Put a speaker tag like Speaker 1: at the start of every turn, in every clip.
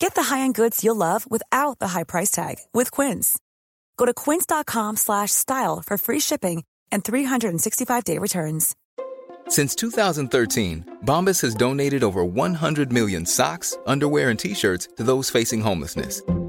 Speaker 1: Get the high-end goods you'll love without the high price tag with Quince. Go to quince.com/style for free shipping and 365-day returns.
Speaker 2: Since 2013, Bombas has donated over 100 million socks, underwear, and t-shirts to those facing homelessness.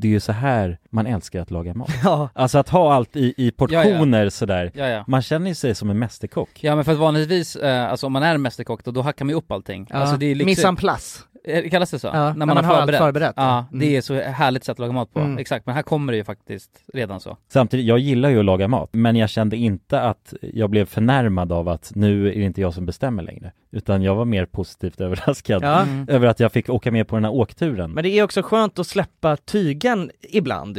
Speaker 3: det är ju så här man älskar att laga mat.
Speaker 4: Ja.
Speaker 3: Alltså att ha allt i, i portioner sådär.
Speaker 5: Ja, ja.
Speaker 3: Man känner ju sig som en mästerkock.
Speaker 5: Ja men för att vanligtvis, eh, alltså om man är mästerkock då, då hackar man ju upp allting.
Speaker 4: Ja.
Speaker 5: Alltså det är
Speaker 4: Mise en
Speaker 5: liksom,
Speaker 4: place.
Speaker 5: Eh, kallas det så?
Speaker 4: Ja, när man har allt förberett.
Speaker 5: Ja,
Speaker 4: Mm.
Speaker 5: det är så härligt sätt att laga mat på.
Speaker 4: Mm.
Speaker 5: Exakt, men här kommer det ju faktiskt redan så.
Speaker 3: Samtidigt, jag gillar ju att laga mat, men jag kände inte att jag blev förnärmad av att nu är det inte jag som bestämmer längre. Utan jag var mer positivt överraskad
Speaker 4: Ja.
Speaker 3: över att jag fick åka med på den här åkturen.
Speaker 4: Men det är också skönt att släppa tygen ibland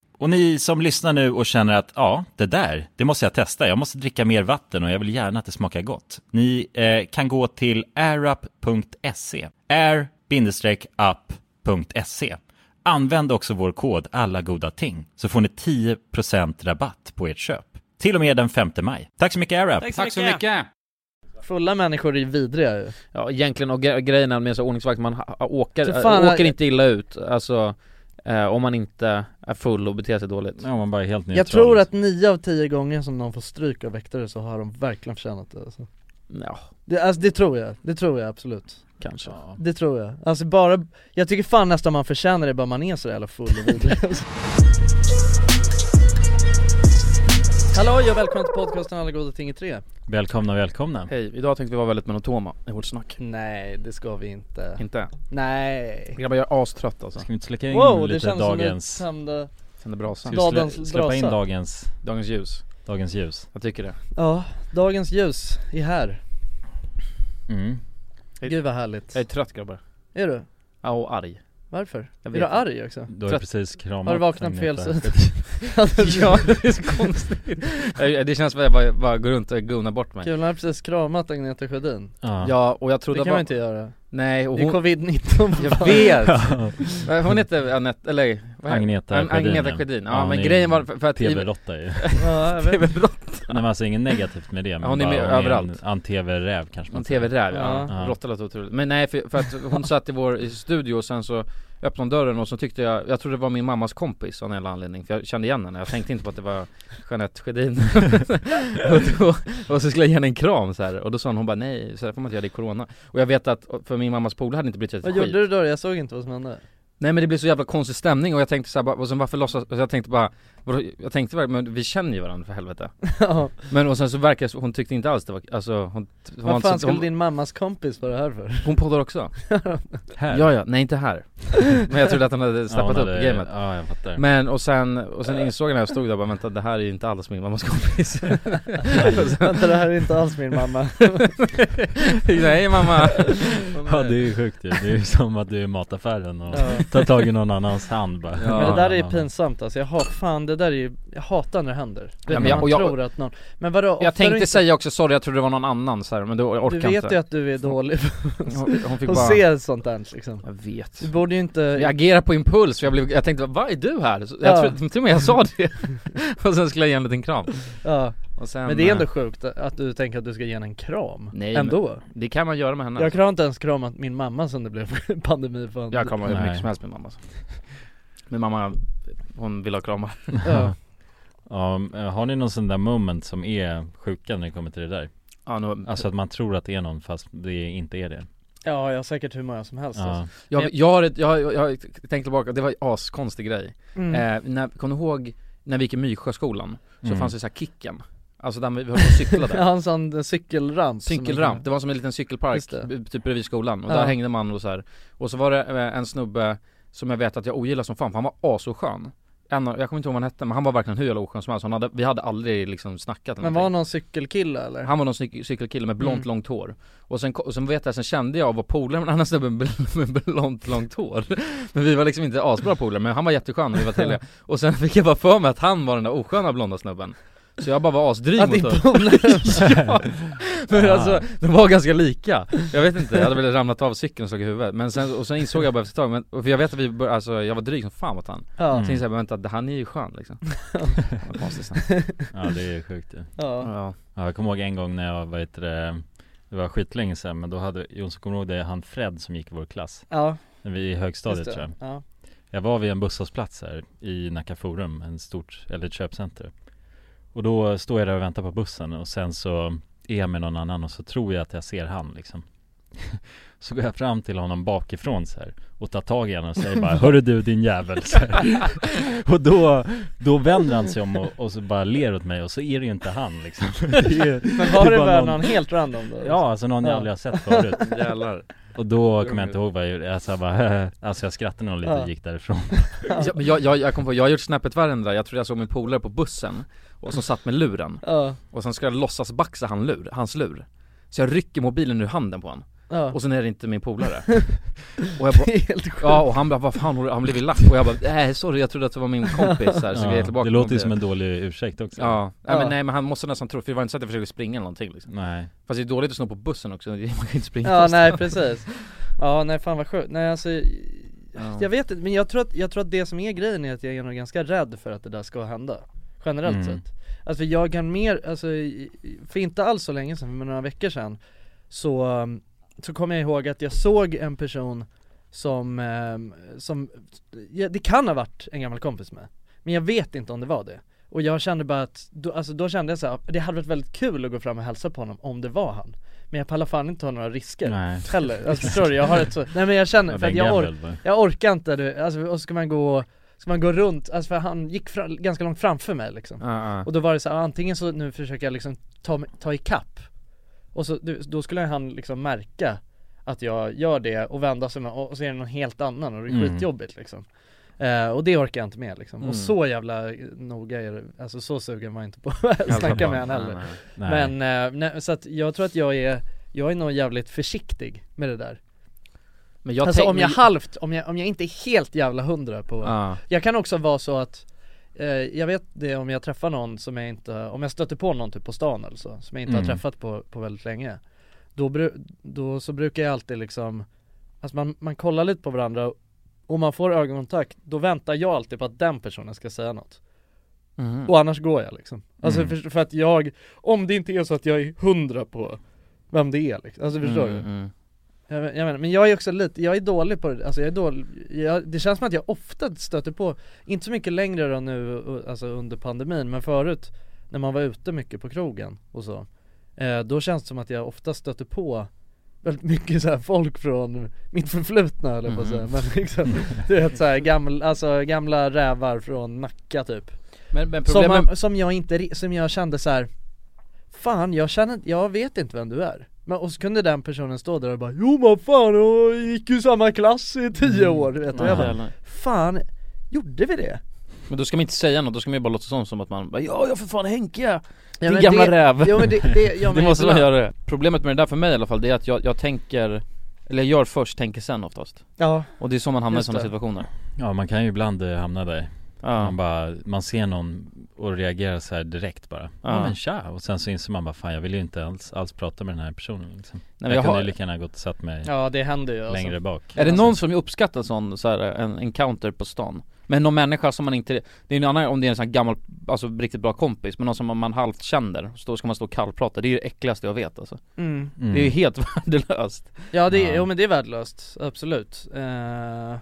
Speaker 3: Och ni som lyssnar nu och känner att ja, det där, det måste jag testa. Jag måste dricka mer vatten och jag vill gärna att det smakar gott. Ni eh, kan gå till airup.se. air-up.se. Använd också vår kod alla goda ting så får ni 10% rabatt på ert köp. Till och med den 5 maj. Tack så mycket AirUp!
Speaker 6: Tack så mycket!
Speaker 4: Fulla människor är vidriga ju.
Speaker 5: Ja egentligen, och gre- grejen är med så ordningsvakt, man ha- ha-
Speaker 4: Så
Speaker 5: åker,
Speaker 4: fan,
Speaker 5: äh, åker
Speaker 4: äh,
Speaker 5: inte illa ut, alltså eh, om man inte är full och beter sig dåligt.
Speaker 3: Ja, man bara är helt neutral.
Speaker 4: Jag tror att nio av tio gånger som någon får stryk av väktare så har de verkligen förtjänat det alltså.
Speaker 5: Ja,
Speaker 4: Det, alltså, det tror jag, det tror jag absolut.
Speaker 5: kanske.
Speaker 4: Det tror jag. Alltså bara, jag tycker fan nästan man förtjänar det bara man är så jävla full och vidrig. Hallå och välkommen till podcasten Alla goda ting i tre
Speaker 3: Välkomna, välkomna.
Speaker 7: Hej, idag tänkte vi vara väldigt monotoma i vårt snack
Speaker 4: Nej det ska vi inte
Speaker 7: Inte?
Speaker 4: Nej
Speaker 7: Grabbar jag är astrött alltså
Speaker 3: Ska vi inte släcka in
Speaker 4: Wow det
Speaker 3: lite
Speaker 4: känns
Speaker 3: dagens...
Speaker 4: som vi tände
Speaker 7: Tänder brasan
Speaker 3: Ska vi slä-
Speaker 4: dagens
Speaker 3: släppa in
Speaker 4: brasa.
Speaker 3: dagens,
Speaker 7: Dagens ljus,
Speaker 3: dagens ljus?
Speaker 7: jag tycker det
Speaker 4: Ja, dagens ljus är här
Speaker 3: Mm.
Speaker 4: Gud vad härligt
Speaker 7: Jag är trött grabbar
Speaker 4: Är du?
Speaker 7: Ja och arg
Speaker 4: Varför? Är
Speaker 7: Jag
Speaker 4: du
Speaker 7: vet
Speaker 4: arg också?
Speaker 3: Du har ju
Speaker 7: Trött.
Speaker 3: precis kramat
Speaker 4: Har du vaknat på fel
Speaker 3: Agneta.
Speaker 4: sida?
Speaker 7: Ja det är så konstigt Jag- Det känns som att jag bara, bara går runt och gonar bort mig
Speaker 4: Kulan har precis kramat Agneta Sjödin
Speaker 3: Ja.
Speaker 7: Ja och jag
Speaker 4: Det
Speaker 7: trodde
Speaker 4: kan
Speaker 7: bara,
Speaker 4: man inte göra
Speaker 7: Nej och
Speaker 4: Det är
Speaker 7: hon,
Speaker 4: covid-19
Speaker 7: jag vet! Eh, Hon heter Anette, eller vad heter-
Speaker 3: Agneta
Speaker 7: An-
Speaker 3: Sjödin,
Speaker 7: Agneta
Speaker 3: ja.
Speaker 7: Sjödin, ja,
Speaker 3: Ja, hon
Speaker 7: men
Speaker 3: är
Speaker 7: grejen
Speaker 3: en
Speaker 7: var för, för att
Speaker 3: TV-Lotta ju. Nej
Speaker 4: Ja, jag vet.
Speaker 3: men alltså inget negativt med det men
Speaker 7: Hon är
Speaker 3: bara,
Speaker 7: med överallt.
Speaker 3: en anti-TV-räv kanske man
Speaker 7: Någon TV-räv ja,
Speaker 3: Ja.
Speaker 7: råtta låter otroligt Men nej för, för att hon satt i vår studio och sen så öppnade hon dörren och så tyckte jag, jag tror det var min mammas kompis av någon jävla anledning För jag kände igen henne, jag tänkte inte på att det var Jeanette Sjödin och, då, och så skulle jag ge henne en kram så här. och då sa hon, hon bara nej, så här får man inte göra det i Corona Och jag vet att, för min mammas polare hade inte brytt sig ett
Speaker 4: Vad
Speaker 7: skit
Speaker 4: gjorde du då? Jag såg inte vad som hände
Speaker 7: Nej men det blev så jävla konstig stämning och jag tänkte såhär, och sen varför låtsas, och jag tänkte bara vadå? Jag tänkte bara, men vi känner ju varandra för helvete
Speaker 4: Ja,
Speaker 7: Men och sen så verkar det som- hon tyckte inte alls det var, alltså hon, hon,
Speaker 4: vad fan skulle
Speaker 7: hon,
Speaker 4: din mammas kompis vara här för?
Speaker 7: hon poddar också
Speaker 3: Här.
Speaker 7: Ja, ja, nej inte här. Men jag trodde att han hade
Speaker 3: Ja, hon
Speaker 7: steppat upp
Speaker 3: hade-
Speaker 7: gamet.
Speaker 3: Ja jag fattar.
Speaker 7: Men och sen, och sen insåg jag när jag stod där bara vänta det här är ju inte alls min mammas kompis
Speaker 4: Vänta det här är inte alls min mamma
Speaker 7: Nej mamma!
Speaker 3: Ja det är ju sjukt ju, det är ju som att du är i mataffären och
Speaker 4: Ja.
Speaker 3: tar tag i någon annans hand bara
Speaker 7: Ja.
Speaker 4: Men det där är ju
Speaker 3: Ja.
Speaker 4: pinsamt alltså, jag har, fan det där är ju, jag hatar när det händer Vet
Speaker 7: men
Speaker 4: när
Speaker 7: jag-
Speaker 4: man
Speaker 7: och jag-
Speaker 4: tror att någon, men vadå? ofta
Speaker 7: Jag
Speaker 4: du
Speaker 7: tänkte
Speaker 4: inte-
Speaker 7: säga också sorry jag trodde det var någon annan så här, men då jag orkar
Speaker 4: Du vet
Speaker 7: inte
Speaker 4: ju att du är dålig
Speaker 7: hon, hon fick
Speaker 4: och
Speaker 7: bara
Speaker 4: ser sånt där liksom
Speaker 7: Jag vet
Speaker 4: Du borde ju inte,
Speaker 7: Jag agerade på impuls för jag blev, jag tänkte vad är du här? Så Jag
Speaker 4: Ja.
Speaker 7: trodde till och med jag sa det Och sen skulle jag ge en liten kram
Speaker 4: ja.
Speaker 7: och sen,
Speaker 4: Men det är ändå
Speaker 7: eh,
Speaker 4: sjukt att du tänker att du ska ge henne en kram
Speaker 7: Nej,
Speaker 4: Ändå
Speaker 7: Det kan man göra med henne
Speaker 4: Jag har inte ens kramat min mamma sen det blev pandemi för
Speaker 7: Jag kramar hur
Speaker 3: Nej.
Speaker 7: mycket som helst med mamma så. Min mamma, hon vill ha kramar
Speaker 4: ja.
Speaker 3: Ja, men har ni någon sån där moment som är sjuka när det kommer till det där?
Speaker 7: ja, nu,
Speaker 3: Alltså att man tror att det är någon fast det inte är det
Speaker 4: ja, jag har säkert hur många som helst
Speaker 3: Ja,
Speaker 4: alltså.
Speaker 7: Jag, jag, har ett, jag, har- jag, har tänkt tillbaka, det var en askonstig grej.
Speaker 4: mm.
Speaker 7: Eh, när, kom du ihåg när vi gick i Mysjöskolan? Så
Speaker 3: Mm.
Speaker 7: fanns det så här Kicken, alltså där vi höll på att cykla
Speaker 4: Jag
Speaker 7: där.
Speaker 4: har en sån cykelramp som
Speaker 7: Cykelramp, det var som en liten
Speaker 4: Just
Speaker 7: cykelpark
Speaker 4: det.
Speaker 7: b- typ bredvid skolan och
Speaker 4: Ja.
Speaker 7: där hängde man och så här. Och så var det eh, en snubbe som jag vet att jag ogillar som fan, för han var asoskön. En, av- jag kommer inte ihåg vad han hette men han var verkligen hur jävla oskön som helst, han hade, vi hade aldrig liksom snackat eller
Speaker 4: Men var han någon cykelkille eller?
Speaker 7: Han var någon cyk- cykelkille med blont
Speaker 4: Mm.
Speaker 7: långt hår Och sen, ko- och sen vet jag, sen kände jag och var polare med en annan snubbe med bl- med blont långt hår Men vi var liksom inte asbra polare, men han var jätteskön och vi var trevliga Och sen fick jag bara för mig att han var den där osköna blonda snubben Så jag bara var asdryg
Speaker 4: Att
Speaker 7: mot
Speaker 4: din
Speaker 7: honom
Speaker 4: polare
Speaker 7: Ja! Men
Speaker 3: Ah.
Speaker 7: alltså, de var ganska lika Jag vet inte, jag hade väl ramlat av cykeln och slagit huvudet Men sen, och sen insåg jag bara efter ett tag, men, för jag vet att vi började, alltså jag var dryg som fan mot han
Speaker 4: Ja,
Speaker 3: Mm.
Speaker 7: Sen insåg jag bara vänta, det- han är ju skön liksom Vad konstigt snack.
Speaker 3: ja det är sjukt ju.
Speaker 4: ja,
Speaker 7: Ja,
Speaker 3: Ja, jag kommer ihåg en gång när jag, vad heter det, det var skitlänge sedan men då hade, Jonsson kommer du ihåg det, han Fred som gick i vår klass
Speaker 4: ja,
Speaker 3: När vi i högstadiet
Speaker 4: just
Speaker 3: tror jag
Speaker 4: det. Ja.
Speaker 3: Jag var vid en busshållplats här i Nacka Forum, en stort, eller ett köpcenter Och då står jag där och väntar på bussen och sen så är jag med någon annan och så tror jag att jag ser han liksom Så går jag fram till honom bakifrån så här och tar tag i honom och säger bara Hörru du din jävel så här. Och då, då vänder han sig om och, och så bara ler åt mig och så är det ju inte han liksom Det är-
Speaker 4: Men var
Speaker 3: är
Speaker 4: det
Speaker 3: bara
Speaker 4: bara
Speaker 3: någon-
Speaker 4: någon helt random då?
Speaker 3: Ja alltså någon jag
Speaker 4: Ja.
Speaker 3: aldrig har sett förut
Speaker 7: jävlar
Speaker 3: Och då kommer jag inte ihåg vad jag gjorde, alltså jag bara Alltså jag skrattade nog lite och
Speaker 4: Ja.
Speaker 3: gick därifrån
Speaker 7: Ja, men jag, jag, jag kom på, jag har gjort snäppet värre än det där. jag trodde jag såg min polare på bussen och som satt med luren
Speaker 4: Ja,
Speaker 7: och sen ska jag låtsas baxa han lur, hans lur Så jag rycker mobilen ur handen på honom
Speaker 4: ja
Speaker 7: och sen är det inte min polare Och jag bara,
Speaker 4: Helt sjukt
Speaker 7: ja och han bara vad fan, håller du- han blev ju lack och jag bara nej sorry jag trodde att det var min kompis så, här, så vi är tillbaka
Speaker 3: Det låter ju som en dålig ursäkt också
Speaker 7: Ja, nej
Speaker 4: Ja.
Speaker 7: men nej men han måste nästan tro, för det var inte så att jag försökte springa eller någonting liksom
Speaker 3: Nej
Speaker 7: Fast det är dåligt att sno på bussen också, man kan ju inte springa
Speaker 4: Ja
Speaker 7: fast.
Speaker 4: nej precis Ja nej fan vad sjukt, nej alltså
Speaker 7: Ja.
Speaker 4: Jag vet inte, men jag tror, att, jag tror att det som är grejen är att jag är nog ganska rädd för att det där ska hända Generellt
Speaker 3: Mm.
Speaker 4: sett Alltså jag kan mer, alltså i- i- för inte alls så länge sedan, men några veckor sedan Så, um, så kommer jag ihåg att jag såg en person som, ehm, som, ja, det kan ha varit en gammal kompis med Men jag vet inte om det var det och jag kände bara att, då, alltså då kände jag så här, det hade varit väldigt kul att gå fram och hälsa på honom om det var han Men jag pallar fan inte ta några risker
Speaker 3: Nej
Speaker 4: heller, alltså, förstår du? Jag har ett så, nej men jag känner, för att jag, or-
Speaker 3: orkar
Speaker 4: jag orkar inte du, alltså och så ska man gå och- ska man gå runt, alltså för han gick fra, ganska långt framför mig liksom
Speaker 7: Ja, ja.
Speaker 4: Och då var det så här, antingen så nu försöker jag liksom ta, mig- ta ikapp Och så, du- då skulle han liksom märka att jag gör det och vända sig med, och så är det någon helt annan och det är
Speaker 3: Mm.
Speaker 4: skitjobbigt liksom Eh, och det orkar jag inte med liksom.
Speaker 7: Mm.
Speaker 4: Och så jävla noga är det, alltså så sugen var jag inte på att snacka med honom heller.
Speaker 7: Nej, nej.
Speaker 3: Nej.
Speaker 4: Men, eh, nej, så att jag tror att jag är, jag är nog jävligt försiktig med det där
Speaker 7: Men jag
Speaker 4: Alltså
Speaker 7: tänk-
Speaker 4: om jag halvt, om jag, om jag inte är helt jävla hundra på
Speaker 7: Ja,
Speaker 4: Jag kan också vara så att eh, jag vet det om jag träffar någon som jag inte, om jag stöter på någon typ på stan eller så, som jag inte
Speaker 3: Mm.
Speaker 4: har träffat på, på väldigt länge då, bru- då så brukar jag alltid liksom, alltså man, man kollar lite på varandra och man får ögonkontakt, då väntar jag alltid på att den personen ska säga något
Speaker 7: Mhm.
Speaker 4: och annars går jag liksom Alltså
Speaker 3: Mm.
Speaker 4: för, för att jag, om det inte är så att jag är hundra på vem det är liksom, alltså förstår
Speaker 7: Mm,
Speaker 4: du?
Speaker 7: mm.
Speaker 4: Jag, men- jag menar, men jag är också lite, jag är dålig på det, alltså jag är dålig, jag, det känns som att jag ofta stöter på, inte så mycket längre då nu, och- alltså under pandemin, men förut när man var ute mycket på krogen och så, eh, då känns det som att jag ofta stöter på väldigt mycket så här folk från mitt förflutna eller på att säga, men liksom, du vet så här, gamla, alltså gamla rävar från Nacka typ
Speaker 7: Men, men
Speaker 4: som,
Speaker 7: problemet,
Speaker 4: man, som jag inte, ri- som jag kände så här. Fan jag känner, jag vet inte vem du är men, och så kunde den personen stå där och bara Jo men fan, jag gick ju samma klass i tio år du vet och jag bara
Speaker 7: Nej.
Speaker 4: Fan, gjorde vi det?
Speaker 7: men då ska man inte säga något, då ska man ju bara låta som, som att man bara, ja jag för fan Henke!
Speaker 4: Ja,
Speaker 7: Din
Speaker 4: men
Speaker 7: gamla
Speaker 4: det-
Speaker 7: räv!
Speaker 4: Jo men det, det, ja,
Speaker 7: det
Speaker 4: men
Speaker 7: måste man
Speaker 4: ibland-
Speaker 7: göra Problemet med det där för mig i alla fall, det är att jag, jag tänker, eller jag gör först, tänker sen oftast
Speaker 4: Ja,
Speaker 7: Och det är så man hamnar
Speaker 4: Just
Speaker 7: i sådana
Speaker 4: det.
Speaker 7: situationer
Speaker 3: Ja man kan ju ibland eh, hamna där
Speaker 7: Ja,
Speaker 3: Man bara, man ser någon och reagerar så här direkt bara ja.
Speaker 7: Ja.
Speaker 3: men tja Och sen så inser man bara fan jag vill ju inte alls, alls prata med den här personen liksom.
Speaker 7: Nej, men
Speaker 3: Jag,
Speaker 7: jag
Speaker 3: kunde
Speaker 7: har-
Speaker 3: ju lika gärna gått och satt mig
Speaker 4: ja det händer ju alltså.
Speaker 3: längre bak
Speaker 7: Är det någon som uppskattar sån, så här, en encounter på stan? Men någon människa som man inte, det är en annan om det är en sån här gammal, alltså riktigt bra kompis Men någon som man halvt känner, så då ska man stå och kallprata, det är ju det äckligaste jag vet alltså
Speaker 4: mm.
Speaker 3: Mm.
Speaker 7: Det är ju helt värdelöst
Speaker 4: Ja det,
Speaker 3: Ja.
Speaker 4: jo men det är värdelöst, absolut Eh,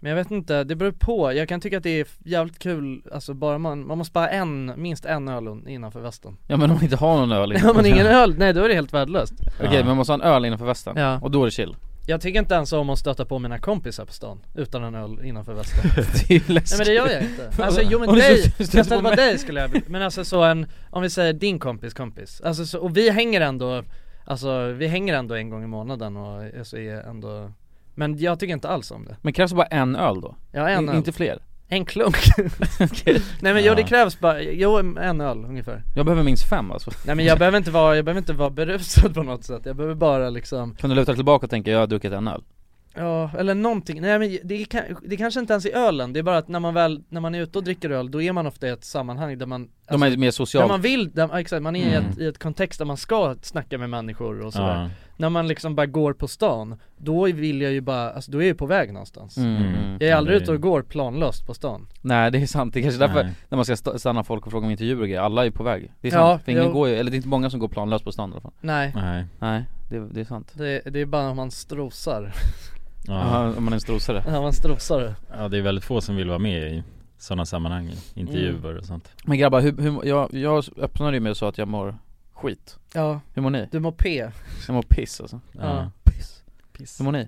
Speaker 4: Men jag vet inte, det beror på, jag kan tycka att det är jävligt kul, alltså bara man, man måste bara ha en, minst en öl innanför västen
Speaker 7: Ja men om man inte har någon öl
Speaker 4: Ja men ingen öl, nej då är det helt värdelöst
Speaker 7: Okej men man måste ha en öl innanför västen,
Speaker 4: Ja.
Speaker 7: och då är det chill
Speaker 4: Jag tycker inte ens om att stöta på mina kompisar på stan utan en öl innanför västen
Speaker 7: Det är ju läskigt
Speaker 4: Nej men det gör jag inte, alltså jo men
Speaker 7: Om du
Speaker 4: dig,
Speaker 7: stöter- stöter
Speaker 4: jag stöter
Speaker 7: på
Speaker 4: på
Speaker 7: mig.
Speaker 4: dig skulle jag vilja- men alltså så en, om vi säger din kompis kompis, alltså så, och vi hänger ändå, alltså vi hänger ändå en gång i månaden och alltså, är ändå men jag tycker inte alls om det.
Speaker 7: Men krävs det bara en öl då?
Speaker 4: Jag har en
Speaker 7: I-
Speaker 4: öl.
Speaker 7: Inte fler?
Speaker 4: En klunk Nej men jo det krävs bara, jo en öl ungefär
Speaker 7: Jag behöver minst fem alltså
Speaker 4: Nej men jag behöver inte vara, jag behöver inte vara berusad på något sätt, jag behöver bara liksom
Speaker 7: Kan du luta dig tillbaka och tänka jag har druckit en öl?
Speaker 4: Ja, eller någonting, nej men det, kan, det kanske inte ens är ölen, det är bara att när man väl, när man är ute och dricker öl då är man ofta i ett sammanhang där man
Speaker 7: De
Speaker 4: alltså,
Speaker 7: är mer
Speaker 4: där
Speaker 7: socialt
Speaker 4: man vill, där, ja, exakt, man är i,
Speaker 3: Mm.
Speaker 4: ett, i ett kontext där man ska snacka med människor och sådär
Speaker 3: ja.
Speaker 4: När man liksom bara går på stan, då vill jag ju bara, alltså då är jag ju på väg någonstans
Speaker 7: Mm.
Speaker 3: Mm.
Speaker 7: Mm.
Speaker 4: Jag är
Speaker 3: Ja,
Speaker 4: aldrig
Speaker 3: det-
Speaker 4: ute och går planlöst på stan
Speaker 7: Nej det är sant, det är kanske är därför
Speaker 3: Nej.
Speaker 7: när man ska st- stanna folk och fråga om intervjuer och grejer, alla är på väg Det är
Speaker 4: Ja,
Speaker 7: sant, för ingen
Speaker 4: jo.
Speaker 7: går ju, eller det är inte många som går planlöst på stan i alla fall
Speaker 4: Nej,
Speaker 3: Nej,
Speaker 7: Nej, det, det är sant
Speaker 4: det, det är bara om man strosar,
Speaker 3: ja.
Speaker 7: Aha, Om man är en strosare
Speaker 4: när man strosar
Speaker 3: ja det är väldigt få som vill vara med i sådana sammanhang, intervjuer
Speaker 7: Mm.
Speaker 3: och sånt
Speaker 7: Men grabbar, hur, hur, jag, jag öppnade ju med att säga att jag mår skit
Speaker 4: Ja,
Speaker 7: Hur mår ni?
Speaker 4: du mår P
Speaker 7: Jag mår piss alltså
Speaker 3: Ja,
Speaker 7: Piss, piss. Hur mår ni?
Speaker 4: Eh,